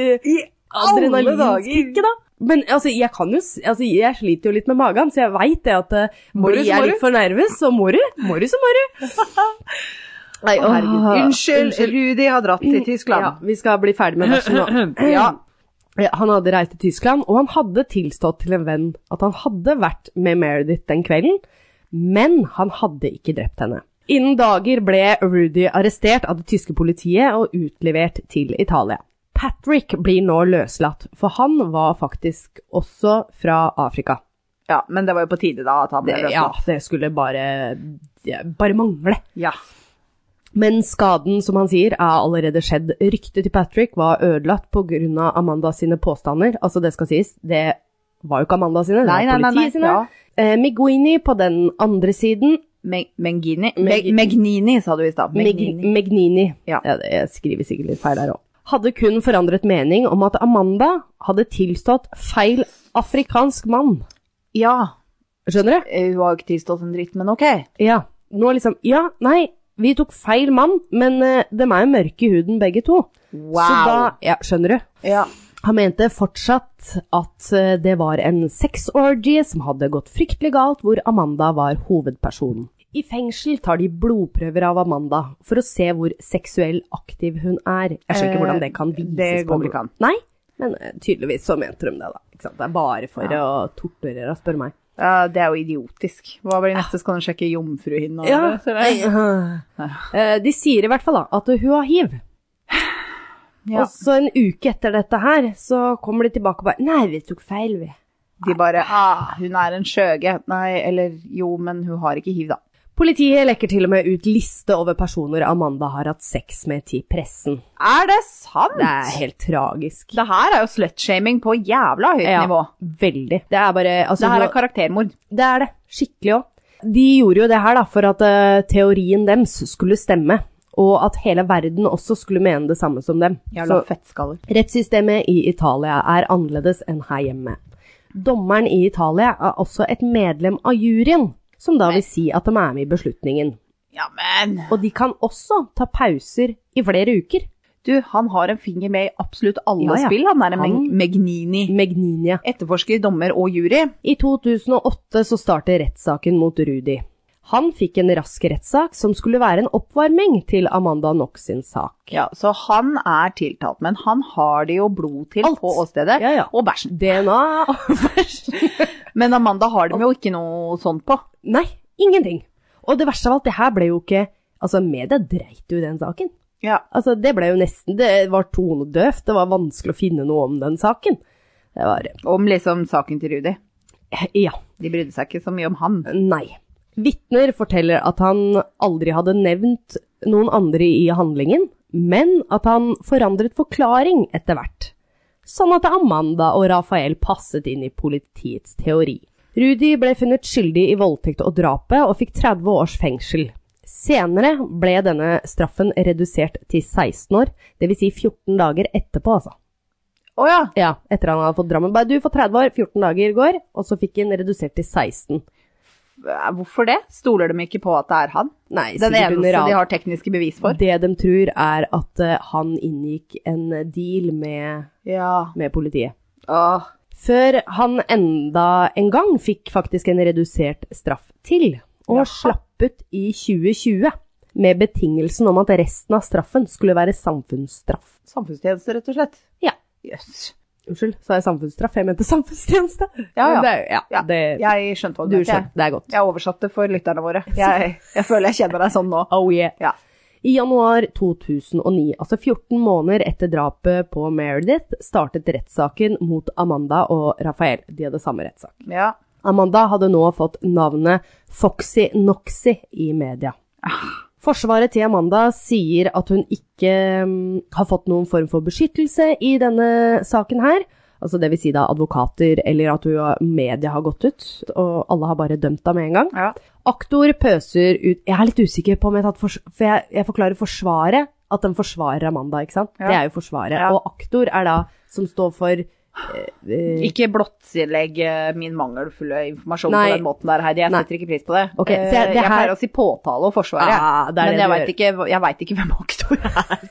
S1: Adrenalinskikket, da. Men altså, jeg kan jo s- altså, Jeg sliter jo litt med magen, så jeg veit det at eh,
S2: Må du,
S1: blir
S2: så må
S1: jeg
S2: du.
S1: litt for nervøs, så må du. Må du, så må du. Nei, å, herregud.
S2: Unnskyld, Rudi har dratt til Tyskland.
S1: Ja, vi skal bli ferdig med bæsjen nå.
S2: [LAUGHS] Ja.
S1: Ja, Han hadde reist til Tyskland, og han hadde tilstått til en venn at han hadde vært med Meredith den kvelden, men han hadde ikke drept henne. Innen dager ble Rudy arrestert av det tyske politiet og utlevert til Italia. Patrick blir nå løslatt, for han var faktisk også fra Afrika.
S2: ja, men det var jo på tide da at han ble
S1: Det, ja,
S2: løslatt.
S1: det skulle bare, det bare mangle.
S2: Ja.
S1: Men skaden, som han sier, er allerede skjedd. Ryktet til Patrick var ødelagt pga. Amanda sine påstander. Altså, det skal sies, det var jo ikke Amanda sine, det
S2: Nei, nei,
S1: var
S2: nei, nei.
S1: politiet sine.
S2: Ja.
S1: Eh, Miguini på den andre siden.
S2: Me- Mengini?
S1: Meg-
S2: Me- Megnini, sa du i stad.
S1: Meg-
S2: Megnini.
S1: Megnini.
S2: Ja.
S1: det- Jeg skriver sikkert litt feil der òg. Hadde kun forandret mening om at Amanda hadde tilstått feil afrikansk mann.
S2: Ja.
S1: Skjønner du?
S2: eh, Hun har jo ikke tilstått en dritt, men ok.
S1: Ja. Nå liksom Ja, nei, vi tok feil mann, men eh, dem er jo mørke i huden begge to. Så da Ja, skjønner du?
S2: ja.
S1: Han mente fortsatt at eh, det var en sexorgie som hadde gått fryktelig galt, hvor Amanda var hovedpersonen. I fengsel tar de blodprøver av Amanda for å se hvor seksuell aktiv hun er. Jeg skjønner
S2: Eh,
S1: ikke hvordan det kan vises.
S2: det
S1: på
S2: går
S1: blod.
S2: ikke an.
S1: Nei, men eh, tydeligvis så mente de det, da. Ikke sant? Det er bare for å torturere, spør meg.
S2: Ja, det er jo idiotisk. Hva blir neste? Skal han sjekke jomfruhinna? eller? Så det- [LAUGHS]
S1: Eh, De sier i hvert fall da at hun har hiv.
S2: Ja.
S1: Og så en uke etter dette her, så kommer de tilbake og bare Nei, vi tok feil, vi.
S2: De bare ah, 'Hun er en skjøge'. Nei, eller jo, men hun har ikke hiv, da.
S1: Politiet lekker til og med ut liste over personer Amanda har hatt sex med til pressen.
S2: Er det sant?!
S1: Det er helt tragisk.
S2: Det her er jo slutshaming på jævla høyt nivå.
S1: veldig. Det er bare altså,
S2: Det her er
S1: nå-
S2: karaktermord.
S1: det, er det. Skikkelig òg. De gjorde jo det her da, for at eh, teorien deres skulle stemme, og at hele verden også skulle mene det samme som dem.
S2: Jævla
S1: Så-
S2: fettskaller.
S1: Rettssystemet i Italia er annerledes enn her hjemme. Dommeren i Italia er også et medlem av juryen, som da vil si at de er med i beslutningen.
S2: Ja, men
S1: Og de kan også ta pauser i flere uker.
S2: Du, han har en finger med i absolutt alle
S1: Ja, ja.
S2: spill. Han er en
S1: Han-
S2: Meg- Megnini.
S1: Megninia.
S2: Etterforsker, dommer og jury.
S1: I 2008 så startet rettssaken mot Rudi. Han fikk en rask rettssak som skulle være en oppvarming til Amanda Knox sin sak.
S2: Ja, Så han er tiltalt, men han har det jo blod til
S1: Alt.
S2: på åstedet.
S1: Ja, ja.
S2: Og bæsjen.
S1: DNA
S2: Men Amanda har dem jo ikke noe sånt på.
S1: [LAUGHS] Nei, ingenting. Og det verste av alt, det her ble jo ikke Altså, media dreit jo i den saken.
S2: Ja.
S1: Altså, det ble jo nesten Det var tonedøvt, det var vanskelig å finne noe om den saken. Det var
S2: Om liksom saken til Rudi.
S1: Ja.
S2: De brydde seg ikke så mye om han.
S1: Nei. Vitner forteller at han aldri hadde nevnt noen andre i handlingen, men at han forandret forklaring etter hvert. Sånn at Amanda og Rafael passet inn i politiets teori. Rudi ble funnet skyldig i voldtekt og drapet og fikk 30 års fengsel. Senere ble denne straffen redusert til 16 år, dvs. Si 14 dager etterpå, altså.
S2: Å ja.
S1: Ja, etter han hadde fått Drammen. Bare du får 30 år, 14 dager går, og så fikk han redusert til 16.
S2: Hvorfor det? Stoler de ikke på at det er han?
S1: Nei,
S2: Den
S1: sikkert
S2: eneste
S1: under
S2: de
S1: radaren.
S2: har tekniske bevis for?
S1: Det de tror er at eh, han inngikk en deal med,
S2: Ja.
S1: med politiet.
S2: Åh.
S1: Før han enda en gang fikk faktisk en redusert straff til, og
S2: Jaha.
S1: slapp ut i 2020 med betingelsen om at resten av straffen skulle være samfunnsstraff.
S2: Samfunnstjeneste, rett og slett.
S1: Ja.
S2: Jøss.
S1: Unnskyld, sa jeg samfunnsstraff? Jeg mente samfunnstjeneste.
S2: Ja, ja.
S1: Men Det, er- ja,
S2: Ja,
S1: det,
S2: Jeg skjønte hva
S1: du
S2: du mente.
S1: skjønner,
S2: jeg.
S1: det er godt.
S2: Jeg oversatte for lytterne våre. Jeg, jeg føler jeg kjenner deg sånn nå.
S1: Oh yeah.
S2: Ja.
S1: I januar 2009, altså 14 måneder etter drapet på Meredith, startet rettssaken mot Amanda og Rafael. De hadde samme rettssak.
S2: Ja.
S1: Amanda hadde nå fått navnet Foxy Noxy i media. Forsvaret til Amanda sier at hun ikke mm, har fått noen form for beskyttelse i denne saken her. Altså det vil si da advokater, eller at hun, har- media har gått ut, og alle har bare dømt henne med en gang.
S2: ja.
S1: Aktor pøser ut Jeg er litt usikker på om jeg har tatt fors... For jeg, jeg forklarer Forsvaret at den forsvarer Amanda, ikke sant?
S2: Ja.
S1: Det er jo Forsvaret.
S2: Ja.
S1: Og aktor er da som står for eh,
S2: Ikke blottlegg eh, min mangelfulle informasjon
S1: Nei.
S2: på den måten der, Heidi. Jeg
S1: Nei.
S2: setter ikke pris på det.
S1: Ok, så
S2: Eh,
S1: jeg- det
S2: jeg
S1: her-
S2: pleier å si påtale og forsvare,
S1: Ah, det er det
S2: men
S1: du
S2: jeg
S1: gjør.
S2: vet ikke- jeg veit ikke, hvem aktor
S1: [LAUGHS]
S2: er.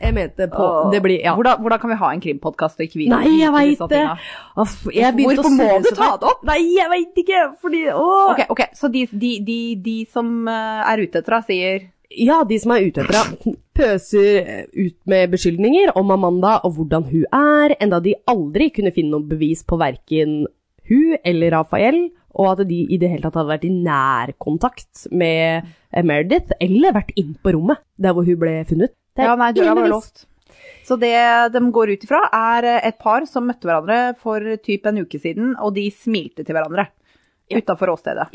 S1: Jeg mente på
S2: Og-
S1: Det blir Ja.
S2: hvordan, hvordan kan vi ha en krimpodkast og ikke vite
S1: Nei, jeg
S2: vite
S1: veit
S2: disse
S1: det.
S2: tinga?
S1: Aff, jeg begynte
S2: Hvorfor
S1: å
S2: må
S1: surre
S2: du
S1: så
S2: ta
S1: fælt.
S2: det opp?
S1: Nei, jeg veit ikke, fordi Åh!
S2: Ok, ok, Så de, de, de, de som eh, er ute etter deg, sier
S1: Ja, de som er ute etter henne, pøser eh, ut med beskyldninger om Amanda og hvordan hun er, enda de aldri kunne finne noe bevis på verken hun eller Rafael, og at de i det hele tatt hadde vært i nær kontakt med eh, Meredith, eller vært inn på rommet der hvor hun ble funnet. Det er
S2: Ja, nei, døra
S1: ingen bevis.
S2: var låst. Så det de går ut ifra, er eh, et par som møtte hverandre for typ en uke siden, og de smilte til hverandre
S1: Ja.
S2: utafor åstedet.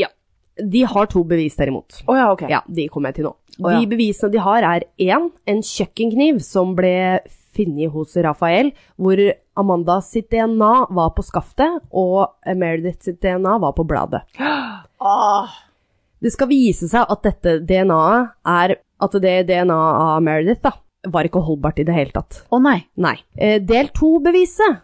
S1: De har to bevis derimot.
S2: Å ja, ok. [GASPS]
S1: Ja, de kommer jeg til nå.
S2: Å, ja.
S1: De bevisene de har er én, en kjøkkenkniv som ble funnet hos Rafael, hvor Amanda sitt DNA var på skaftet, og Meredith sitt DNA var på bladet.
S2: Ah,
S1: Det skal vise seg at dette DNA-et er At det DNA-et av Meredith da, var ikke holdbart i det hele tatt.
S2: Å nei.
S1: Nei. Eh, Del to-beviset.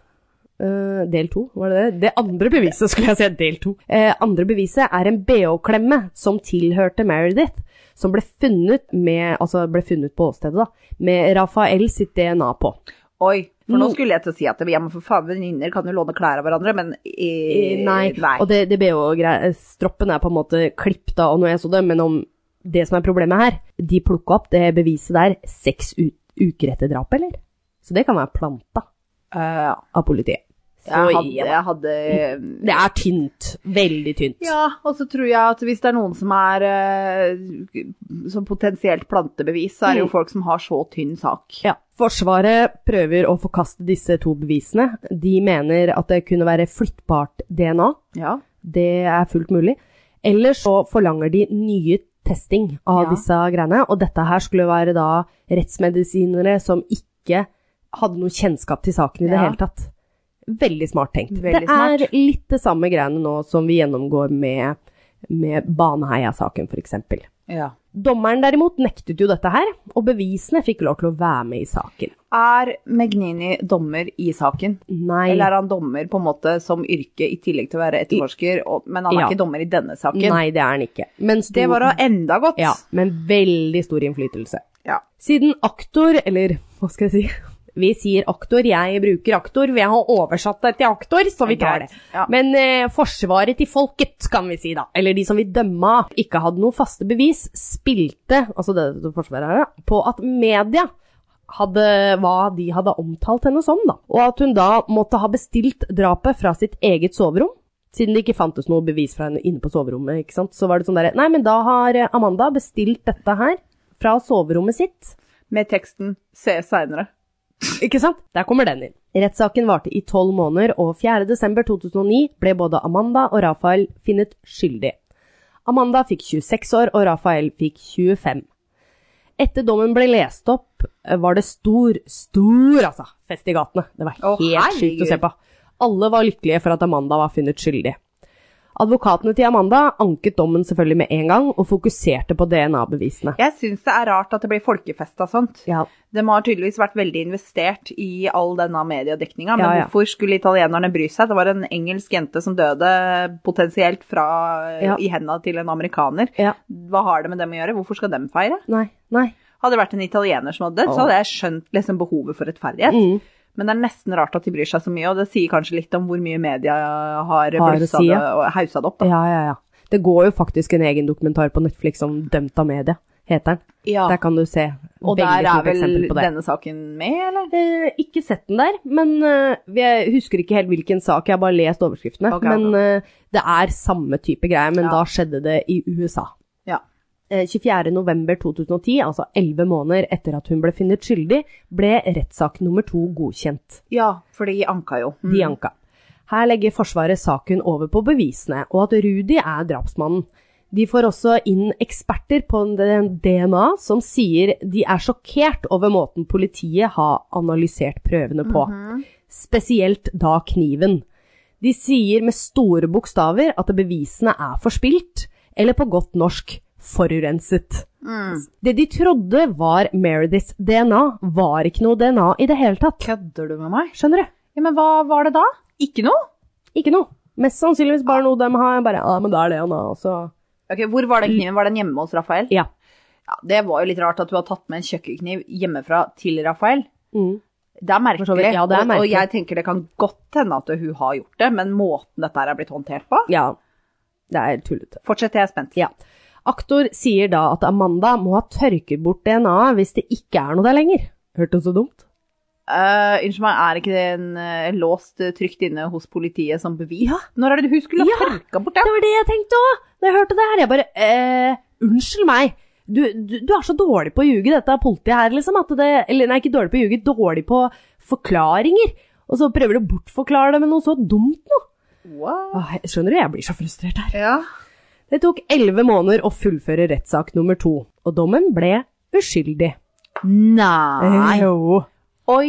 S1: Eh, del to, var det det? Det andre beviset, skulle jeg si. Del to. Eh, andre beviset er en bh-klemme som tilhørte Meredith, som ble funnet, med, altså ble funnet på åstedet, da, med Rafael sitt DNA på.
S2: Oi. For nå
S1: Mm.
S2: skulle jeg til å si at ja, men for faen, venninner kan jo låne klær av hverandre, men eh,
S1: Eh, nei. Og det, det BH-stroppen er på en måte klippet av, og når jeg så det, men om det som er problemet her, de plukka opp det beviset der seks u uker etter drapet, eller? Så det kan være planta
S2: Eh, ja.
S1: av politiet. Så
S2: jeg hadde,
S1: ja.
S2: jeg hadde
S1: Det er tynt. Veldig tynt.
S2: Ja, og så tror jeg at hvis det er noen som er eh, som potensielt plantebevis, så er det
S1: Mm.
S2: jo folk som har så tynn sak.
S1: Ja. Forsvaret prøver å forkaste disse to bevisene. De mener at det kunne være flyttbart DNA.
S2: Ja.
S1: Det er fullt mulig. Eller så forlanger de nye testing av
S2: Ja.
S1: disse greiene. Og dette her skulle være da rettsmedisinere som ikke hadde noe kjennskap til saken i det
S2: Ja.
S1: hele tatt. Veldig smart tenkt.
S2: Veldig
S1: det er litt det samme greiene nå som vi gjennomgår med, med Baneheia-saken, f.eks.
S2: ja.
S1: Dommeren derimot nektet jo dette her, og bevisene fikk lov til å være med i saken.
S2: Er Magnini dommer i saken?
S1: Nei,
S2: Eller er han dommer på en måte som yrke i tillegg til å være etterforsker, og, men han er
S1: Ja.
S2: ikke dommer i denne saken?
S1: nei det er han ikke. Men stor,
S2: Det var da enda godt.
S1: Ja, men veldig stor innflytelse.
S2: Ja.
S1: Siden aktor, eller hva skal jeg si Vi sier aktor, jeg bruker aktor, vi har oversatt det til aktor, så vi tar det.
S2: Ja.
S1: Men eh, forsvaret til folket, kan vi si da, eller de som vil dømme, ikke hadde noe faste bevis, spilte, altså det, det forsvaret her, da, på at media hadde, hva de hadde omtalt henne som, da. Og at hun da måtte ha bestilt drapet fra sitt eget soverom. Siden det ikke fantes noe bevis fra henne inne på soverommet, ikke sant? så var det sånn derre Nei, men da har eh, Amanda bestilt dette her fra soverommet sitt.
S2: Med teksten 'se seinere'.
S1: Ikke sant? Der kommer den inn. Rettssaken varte i tolv måneder, og 4.12.2009 ble både Amanda og Rafael funnet skyldig. Amanda fikk 26 år, og Rafael fikk 25. Etter dommen ble lest opp, eh, var det stor, stor altså, fest i gatene. Det var
S2: Å,
S1: helt sjukt å se
S2: herregud.
S1: på. Alle var lykkelige for at Amanda var funnet skyldig. Advokatene til Amanda anket dommen selvfølgelig med en gang, og fokuserte på DNA-bevisene.
S2: Jeg syns det er rart at det blir folkefest av sånt.
S1: Ja,
S2: De har tydeligvis vært veldig investert i all denne mediedekninga, men
S1: Ja, ja.
S2: hvorfor skulle italienerne bry seg? Det var en engelsk jente som døde potensielt fra, eh,
S1: Ja.
S2: i henda til en amerikaner.
S1: ja.
S2: Hva har det med dem å gjøre? Hvorfor skal de feire?
S1: Nei, nei.
S2: Hadde det vært en italiener som hadde dødd, så hadde jeg skjønt liksom behovet for rettferdighet.
S1: Mm.
S2: Men det er nesten rart at de bryr seg så mye, og det sier kanskje litt om hvor mye media
S1: å
S2: har blussa
S1: si,
S2: det
S1: ja.
S2: og haussa det opp. Da.
S1: Ja, ja, ja. Det går jo faktisk en egen dokumentar på Netflix om Dømt av media, heter den. Der kan du se veldig
S2: Og der
S1: fint
S2: er vel
S1: eksempel på det.
S2: denne saken med, eller?
S1: Eh, ikke sett den der, men eh, jeg husker ikke helt hvilken sak, jeg har bare lest overskriftene.
S2: Ok,
S1: men eh, det er samme type greier, men
S2: Ja.
S1: da skjedde det i USA.
S2: Ja.
S1: Eh, 24.11.2010, altså 11 måneder etter at hun ble funnet skyldig, ble rettssak nummer to godkjent.
S2: Ja, for de anka jo. Mm.
S1: De anka. Her legger Forsvaret saken over på bevisene, og at Rudi er drapsmannen. De får også inn eksperter på den DNA som sier de er sjokkert over måten politiet har analysert prøvene på, spesielt da kniven. De sier med store bokstaver at bevisene er forspilt, eller på godt norsk forurenset. Det de trodde var Merediths DNA, var ikke noe DNA i det hele tatt.
S2: Kødder du med meg?
S1: Skjønner du?
S2: Ja, men hva var det da? Ikke noe?
S1: Ikke noe. Mest sannsynligvis bare noe de har bare Ja, men da er det han, da. Og så
S2: Ok, Hvor var den kniven? Var den hjemme hos Rafael?
S1: Ja.
S2: Ja, Det var jo litt rart at du har tatt med en kjøkkenkniv hjemmefra til Rafael.
S1: Mm.
S2: Det er merkelig.
S1: For så vidt, ja, det er
S2: og- Og
S1: merkelig.
S2: jeg tenker det kan godt hende at hun har gjort det, men måten dette her er blitt håndtert på
S1: Ja. Det er tullete.
S2: Fortsett, jeg er spent.
S1: Ja. Aktor sier da at Amanda må ha tørket bort DNA-et hvis det ikke er noe der lenger. Hørtes så dumt?
S2: Eh, unnskyld meg, er ikke det en eh, låst eh, trygt inne hos politiet som bevis?
S1: Ja.
S2: Når er det hun skulle ha
S1: Ja.
S2: tørka bort det?
S1: Det var det jeg tenkte òg! Da jeg hørte det her, jeg bare eh, Unnskyld meg. Du, du, du er så dårlig på å ljuge, dette politiet her, liksom. At det, eller nei, ikke dårlig på å ljuge, dårlig på forklaringer. Og så prøver du å bortforklare det med noe så dumt nå.
S2: Wow.
S1: Åh, jeg- skjønner du, jeg blir så frustrert her.
S2: Ja.
S1: Det tok elleve måneder å fullføre rettssak nummer to, og dommen ble uskyldig. Eh,
S2: Nei.
S1: Jo.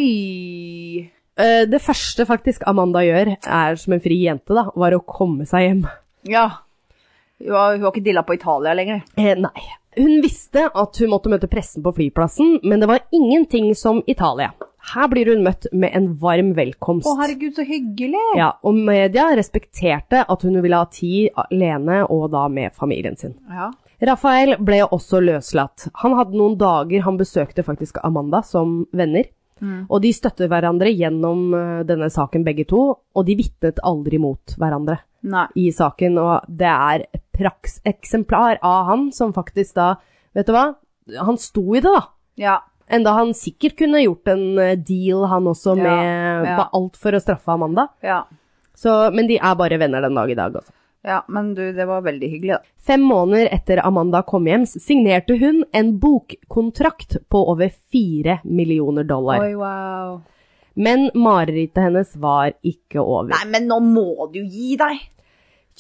S2: Oi.
S1: Eh, Det første faktisk Amanda gjør, er som en fri jente, da, var å komme seg hjem.
S2: Ja. Hun har, hun har ikke dilla på Italia lenger.
S1: Eh, nei. Hun visste at hun måtte møte pressen på flyplassen, men det var ingenting som Italia. Her blir hun møtt med en varm velkomst.
S2: Å, herregud, så hyggelig.
S1: ja, og media respekterte at hun ville ha tid alene og da med familien sin.
S2: Ja.
S1: Rafael ble også løslatt. Han hadde noen dager han besøkte faktisk Amanda som venner.
S2: Mm.
S1: Og de støttet hverandre gjennom eh, denne saken begge to, og de vitnet aldri mot hverandre
S2: Nei.
S1: i saken, og det er et prakseksemplar av han som faktisk da, vet du hva, han sto i det da.
S2: Ja.
S1: Enda han sikkert kunne gjort en eh, deal han også
S2: Ja,
S1: med
S2: ja.
S1: på alt for å straffe Amanda.
S2: Ja.
S1: Så, men de er bare venner den dag i dag altså.
S2: Ja, men du, det var veldig hyggelig, da.
S1: Fem måneder etter Amanda kom hjem, signerte hun en bokkontrakt på over 4 millioner dollar.
S2: wow.
S1: Men marerittet hennes var ikke over.
S2: Nei, men nå må du gi deg!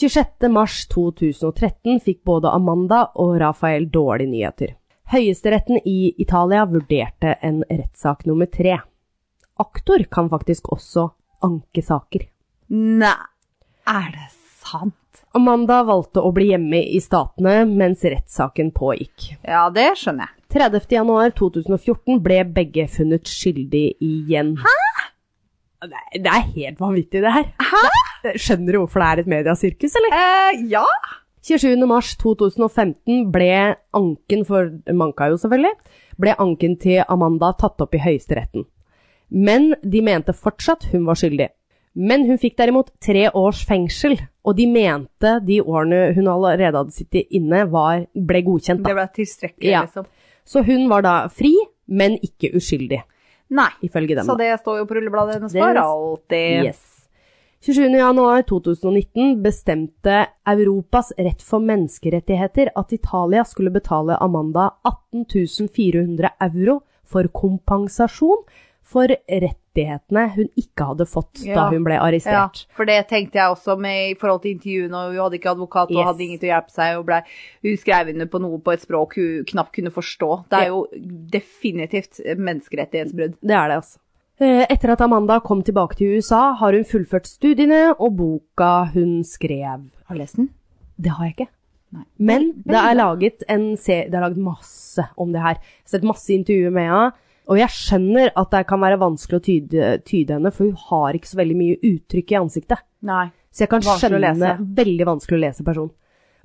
S1: 26. mars 2013 fikk både Amanda og Rafael dårlige nyheter. Høyesteretten i Italia vurderte en rettssak nummer tre. Aktor kan faktisk også anke saker.
S2: Nei, er det sant?
S1: Amanda valgte å bli hjemme i Statene mens rettssaken pågikk.
S2: Ja, det skjønner jeg.
S1: 30. januar 2014 ble begge funnet skyldig igjen. Hæ? Det er- det er helt vanvittig, det her. Hæ? Skjønner du hvorfor det er et mediasirkus, eller?
S2: Eh, ja.
S1: 27. mars 2015 ble anken for Manka jo selvfølgelig, ble anken til Amanda tatt opp i høyesteretten. Men de mente fortsatt hun var skyldig. Men hun fikk derimot tre års fengsel, og de mente de årene hun allerede hadde sittet inne, var, ble godkjent. Da.
S2: Det ble tilstrekkelig,
S1: Ja.
S2: liksom.
S1: Så hun var da fri, men ikke uskyldig,
S2: Nei.
S1: ifølge dem. da.
S2: Så det står jo på rullebladet hennes
S1: Det-
S2: for alltid.
S1: Yes. 27. januar 2019 bestemte Europas rett for menneskerettigheter at Italia skulle betale Amanda 18 400 euro for kompensasjon for rettighetene hun ikke hadde fått da
S2: Ja.
S1: hun ble
S2: Ja,
S1: arrestert.
S2: for det tenkte jeg også med, i forhold til intervjuene, og hun hadde ikke advokat og
S1: Yes.
S2: hadde ingen til å hjelpe seg, og ble, hun skrev under på noe på et språk hun knapt kunne forstå. Det er jo definitivt menneskerettighetsbrudd.
S1: Det er det, altså. Eh, Etter at Amanda kom tilbake til USA, har hun fullført studiene og boka hun skrev.
S2: Har du lest den?
S1: Det har jeg ikke.
S2: Nei.
S1: Men det er laget en se- Det er laget masse om det her. Jeg har sett masse intervjuer med henne. Og jeg skjønner at det kan være vanskelig å tyde, tyde henne, for hun har ikke så veldig mye uttrykk i ansiktet.
S2: Nei.
S1: Så jeg kan
S2: Vanskelig å
S1: skjønne
S2: lese.
S1: Veldig vanskelig å lese person.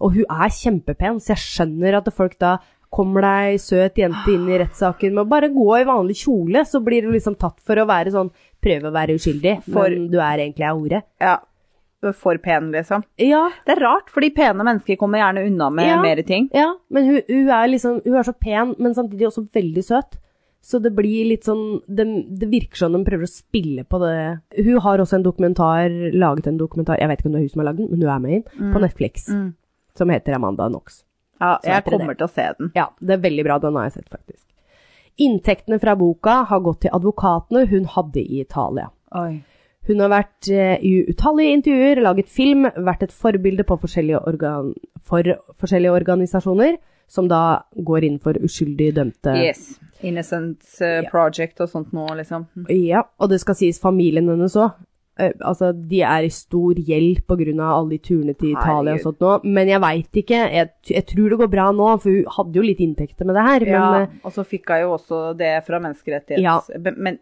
S1: Og hun er kjempepen, så jeg skjønner at folk da Kommer deg søt jente inn i rettssaken med å bare gå i vanlig kjole, så blir du liksom tatt for å være sånn Prøve å være uskyldig,
S2: For-
S1: men du er egentlig av ordet.
S2: Ja. For pen, liksom.
S1: Ja,
S2: Det er rart, fordi pene mennesker kommer gjerne unna med
S1: Ja.
S2: mer ting.
S1: Ja, men hun, hun, er liksom, hun er så pen, men samtidig også veldig søt. Så det blir litt sånn Det, det virker som de prøver å spille på det. Hun har også en dokumentar, laget en dokumentar, jeg vet ikke om det er hun som har lagd den, men hun er med i den, på Netflix,
S2: Mm.
S1: som heter Amanda Knox.
S2: Ja,
S1: Så
S2: jeg
S1: heter det
S2: kommer til å se den.
S1: Ja, det er veldig bra. Den har jeg sett, faktisk. Inntektene fra boka har gått til advokatene hun hadde i Italia.
S2: Oi.
S1: Hun har vært eh, i utallige intervjuer, laget film, vært et forbilde på forskjellige organ for forskjellige organisasjoner, som da går inn for uskyldig dømte.
S2: Yes. Innocent eh,
S1: Ja.
S2: Project og sånt noe, liksom.
S1: Ja, og det skal sies familien hennes òg. Altså, de er i stor gjeld pga. alle de turene til Italia og
S2: Herregud.
S1: sånt nå, men jeg veit ikke. Jeg, t- jeg tror det går bra nå, for hun hadde jo litt inntekter med det her.
S2: Ja,
S1: Men eh,
S2: og så fikk hun jo også det fra
S1: Ja.
S2: menneskerettighets... Be- Men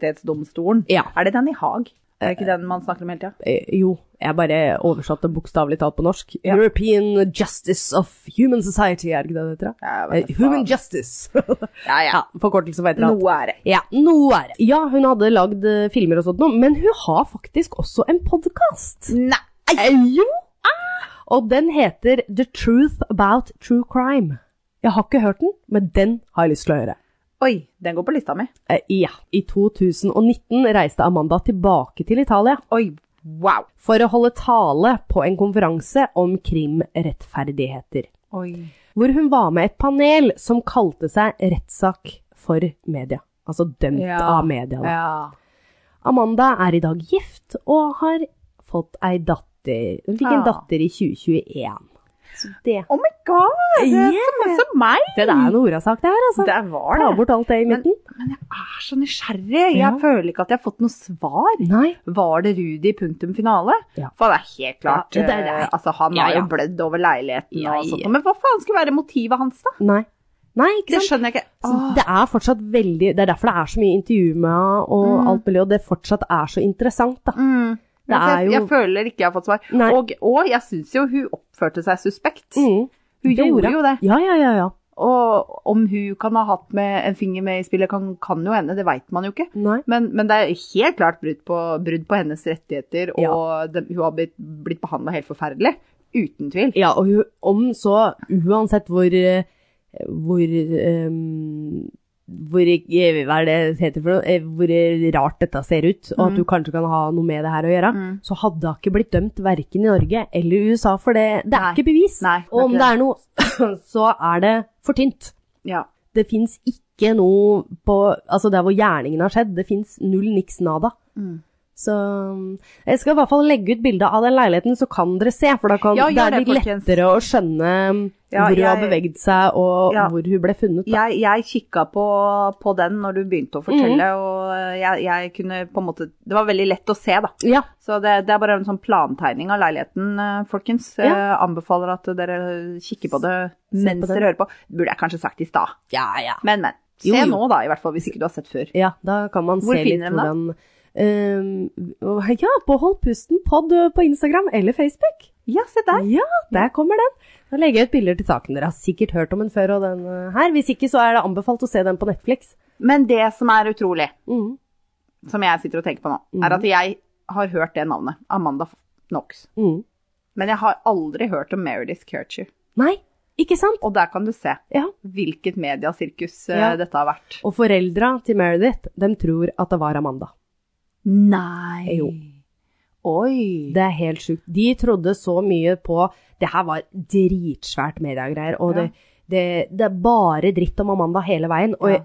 S2: menneskerettighetsdomstolen.
S1: Ja.
S2: Er det den i Haag? Er det ikke den man snakker om hele tida?
S1: Eh, Jo, jeg bare oversatte bokstavelig talt på norsk.
S2: Ja.
S1: European Justice of Human Society, er det ikke det det heter? da?
S2: Ja,
S1: Eh,
S2: jeg vet da
S1: Human
S2: faen.
S1: Justice.
S2: [LAUGHS] Ja, ja.
S1: ja, forkortelse for et eller annet.
S2: Noe er det.
S1: Ja, noe er det. Ja, hun hadde lagd eh, filmer og sånt noe, men hun har faktisk også en podkast.
S2: Nei!
S1: Jo! Og den heter The Truth About True Crime. Jeg har ikke hørt den, men den har jeg lyst til å høre.
S2: Oi, den går på lista mi.
S1: Eh, Ja. I 2019 reiste Amanda tilbake til Italia
S2: Oi, wow.
S1: for å holde tale på en konferanse om krimrettferdigheter,
S2: Oi.
S1: hvor hun var med et panel som kalte seg Rettssak for media. Altså dømt
S2: Ja.
S1: av media. da.
S2: Ja.
S1: Amanda er i dag gift og har fått ei datter. Hun fikk en
S2: Ja.
S1: datter i 2021. Så det,
S2: Oh my god, det
S1: Yeah.
S2: er yeah. som meg!
S1: det er en orasak, det her, altså.
S2: Det var
S1: Ta
S2: det.
S1: bort alt det i midten.
S2: Jeg er så nysgjerrig. Jeg
S1: Ja.
S2: føler ikke at jeg har fått noe svar.
S1: Nei.
S2: Var det Rudi punktum finale?
S1: Ja.
S2: For det er helt klart
S1: Ja, det er det.
S2: eh, Altså, han
S1: Ja,
S2: har
S1: ja.
S2: jo blødd over leiligheten
S1: Ja,
S2: og sånt.
S1: ja.
S2: Men hva faen skulle være motivet hans, da?
S1: Nei. Nei, ikke Sånn,
S2: Det
S1: sant?
S2: skjønner jeg ikke.
S1: Så
S2: Åh.
S1: det er fortsatt veldig Det er derfor det er så mye intervju med henne og
S2: Mm.
S1: alt mulig, og det fortsatt er så interessant, da.
S2: Mm.
S1: Det
S2: Men
S1: er
S2: jeg,
S1: jo-
S2: jeg føler ikke jeg har fått svar.
S1: Nei.
S2: Og, og jeg syns jo hun oppførte seg suspekt.
S1: Mm.
S2: Hun gjorde jo det.
S1: Ja, ja, ja. ja.
S2: Og om hun kan ha hatt med en finger med i spillet, kan, kan jo hende, det veit man jo ikke.
S1: Nei.
S2: Men, men det er helt klart brudd på, brudd på hennes rettigheter, og
S1: Ja.
S2: det, hun har blitt, blitt behandla helt forferdelig. Uten tvil.
S1: Ja, og hun, om så Uansett hvor eh, Hvor ehm, hvor, eh, hva er det det heter for noe? Eh, Hvor rart dette ser ut, og at du kanskje kan ha noe med det her å gjøre,
S2: Mm.
S1: så hadde hun ikke blitt dømt verken i Norge eller i USA, for det, det er
S2: Nei.
S1: ikke bevis.
S2: Nei, det er
S1: og om
S2: ikke
S1: det er noe, [LAUGHS] så er det for tynt.
S2: Ja.
S1: Det fins ikke noe på Altså, der hvor gjerningen har skjedd, det fins null niks nada.
S2: Mm.
S1: Så mm, jeg skal i hvert fall legge ut bilde av den leiligheten, så kan dere se. For da kan,
S2: Ja,
S1: det
S2: gjør
S1: er
S2: det,
S1: litt
S2: folkens.
S1: lettere å skjønne mm,
S2: Ja,
S1: hvor hun har
S2: jeg-
S1: beveget seg, og
S2: Ja.
S1: hvor hun ble funnet. Da.
S2: Jeg, jeg kikka på, på den når du begynte å fortelle,
S1: Mm.
S2: og jeg, jeg kunne på en måte Det var veldig lett å se, da.
S1: Ja.
S2: Så det, det er bare en sånn plantegning av leiligheten, eh, folkens.
S1: Ja.
S2: Eh, Anbefaler at dere kikker på det
S1: på
S2: mens
S1: den.
S2: dere hører på. Burde jeg kanskje sagt i stad,
S1: ja, ja.
S2: men, men. Se
S1: Jo, jo.
S2: nå, da, i hvert fall, hvis ikke du har sett før.
S1: Ja, da kan man
S2: Hvor
S1: se litt
S2: finner de
S1: hvordan ehm, Ja, på Hold pusten pod eh, på Instagram eller Facebook.
S2: Ja, se der.
S1: Ja, der kommer den. Da legger jeg ut bilder til saken. Dere har sikkert hørt om den før og den eh, her. Hvis ikke, så er det anbefalt å se den på Netflix.
S2: Men det som er utrolig,
S1: Mm.
S2: som jeg sitter og tenker på nå,
S1: Mhm.
S2: er at jeg har hørt det navnet. Amanda Knox.
S1: Mm.
S2: Men jeg har aldri hørt om Meredith Kircher.
S1: Nei, ikke sant?
S2: Og der kan du se
S1: Ja.
S2: hvilket mediasirkus eh,
S1: Ja.
S2: dette har vært.
S1: Og foreldra til Meredith, de tror at det var Amanda.
S2: Nei.
S1: Jo.
S2: Oi.
S1: Det er helt sjukt. De trodde så mye på Det her var dritsvært mediegreier, og
S2: Ja.
S1: det, det, det er bare dritt om Amanda hele veien. Og,
S2: Ja.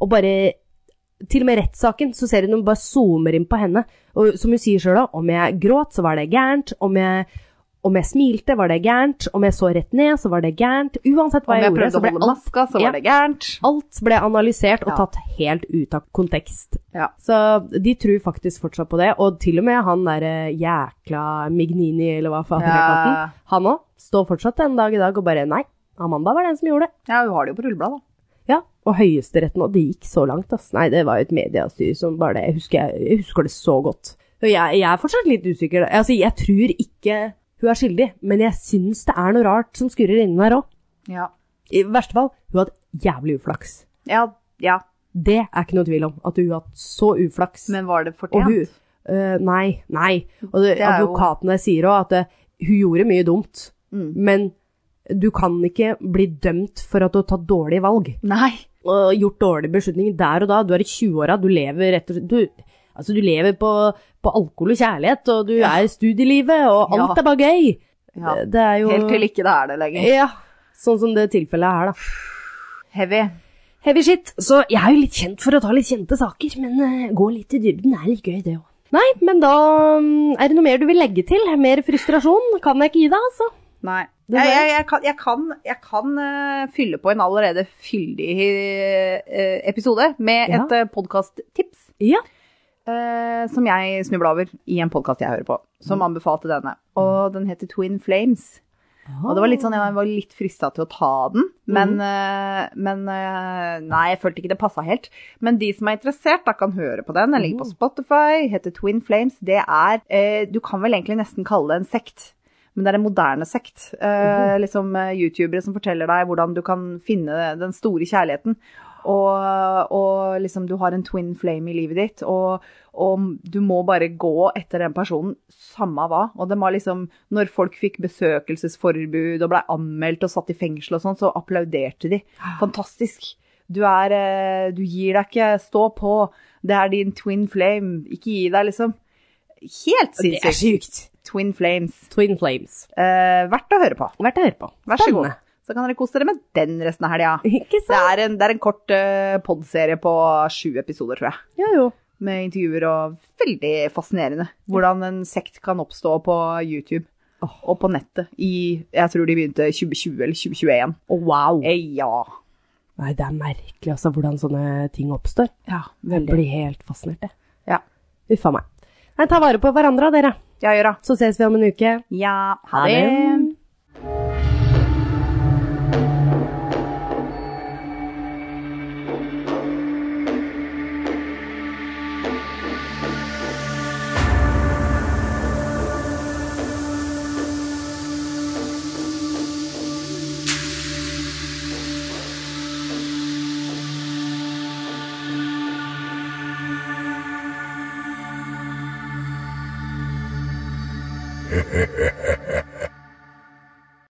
S1: og bare Til og med rettssaken, så ser hun hun bare zoomer inn på henne. Og som hun sier sjøl, om jeg gråt, så var det gærent. Om jeg, om jeg smilte, var det gærent. Om jeg så rett ned, så var det gærent. Uansett hva
S2: Om
S1: jeg,
S2: jeg
S1: gjorde,
S2: prøvde
S1: så
S2: å
S1: ble
S2: holde
S1: alt,
S2: maska, så
S1: Ja.
S2: var det gærent.
S1: alt ble analysert og
S2: Ja.
S1: tatt helt ut av kontekst.
S2: Ja.
S1: Så de tror faktisk fortsatt på det, og til og med han der eh, jækla Mignini, eller hva faen jeg kalte han,
S2: Ja.
S1: han òg står fortsatt en dag i dag og bare nei, Amanda var den som gjorde det.
S2: ja, hun har det jo på rullebladet. da.
S1: Ja, og høyesteretten, og det gikk så langt, ass. Nei, det var jo et mediestyr som bare det, jeg husker, jeg husker det så godt. Og jeg, jeg er fortsatt litt usikker, altså jeg tror ikke hun er skyldig, men jeg syns det er noe rart som skurrer inni der òg.
S2: Ja.
S1: I verste fall, hun hadde jævlig uflaks.
S2: Ja, ja.
S1: Det er ikke noe tvil om, at hun har hatt så uflaks.
S2: Men var det
S1: Og hun
S2: fortjent?
S1: eh, Nei, nei. Og det,
S2: Det er jo-
S1: advokaten der sier òg at eh, hun gjorde mye dumt,
S2: Mm.
S1: men du kan ikke bli dømt for at du har tatt dårlige valg
S2: Nei.
S1: og gjort dårlige beslutninger der og da. Du er i 20-åra, du lever rett og slett du, Altså, du lever på, på alkohol og kjærlighet, og du er i studielivet, og alt
S2: Ja.
S1: er bare gøy.
S2: Ja.
S1: Det- Det er jo
S2: Helt til ikke det er det lenger.
S1: Ja. Sånn som det tilfellet her, da.
S2: Heavy.
S1: Heavy shit. Så jeg er jo litt kjent for å ta litt kjente saker, men eh, gå litt i dybden er litt gøy, det òg. Nei, men da mm, er det noe mer du vil legge til? Mer frustrasjon kan jeg ikke gi deg, altså.
S2: Nei.
S1: Det
S2: Jeg,
S1: var-
S2: jeg, jeg kan, jeg kan, jeg kan eh, fylle på en allerede fyldig eh, episode med
S1: Ja.
S2: et uh, podkasttips
S1: Ja.
S2: eh, som Mm. jeg snubla over i en podkast jeg hører på, som anbefalte denne. Og den heter Twin Flames. Og det var litt sånn, jeg var litt frista til å ta den, men, eh, men eh, Nei, jeg følte ikke det passa helt. Men de som er interessert, da kan høre på den. Den ligger på Spotify, heter Twin Flames. Det er eh, Du kan vel egentlig nesten kalle det en sekt. Men det er en moderne sekt. Eh, liksom eh, Youtubere som forteller deg hvordan du kan finne den store kjærligheten. Og, og liksom du har en twin flame i livet ditt, og, og du må bare gå etter den personen, samme hva. Og det var liksom Når folk fikk besøkelsesforbud og blei anmeldt og satt i fengsel og sånn, så applauderte de. Fantastisk. Du er eh, Du gir deg ikke. Stå på. Det er din twin flame. Ikke gi deg, liksom. Helt
S1: Det er sjukt.
S2: sinnssykt. Twin flames.
S1: Twin Flames.
S2: Eh, verdt å høre på.
S1: Verdt å høre på.
S2: Vær så god.
S1: Spennende.
S2: Så kan dere kose dere med den resten av helga.
S1: Ikke
S2: Det
S1: sant?
S2: er en, det er en kort uh, podserie på sju episoder, tror jeg.
S1: Jo, jo.
S2: Med intervjuer og veldig fascinerende. Hvordan en sekt kan oppstå på YouTube og på nettet i Jeg tror de begynte 2020 eller 2021.
S1: Å, wow.
S2: Eh, ja.
S1: Nei, det er merkelig altså, hvordan sånne ting oppstår.
S2: Ja,
S1: Jeg
S2: veldig.
S1: blir helt fascinert, jeg.
S2: Ja.
S1: Uff a meg. Nei, ta vare på hverandre, dere.
S2: Ja, gjør det.
S1: Så ses vi om en uke.
S2: Ja, ha det.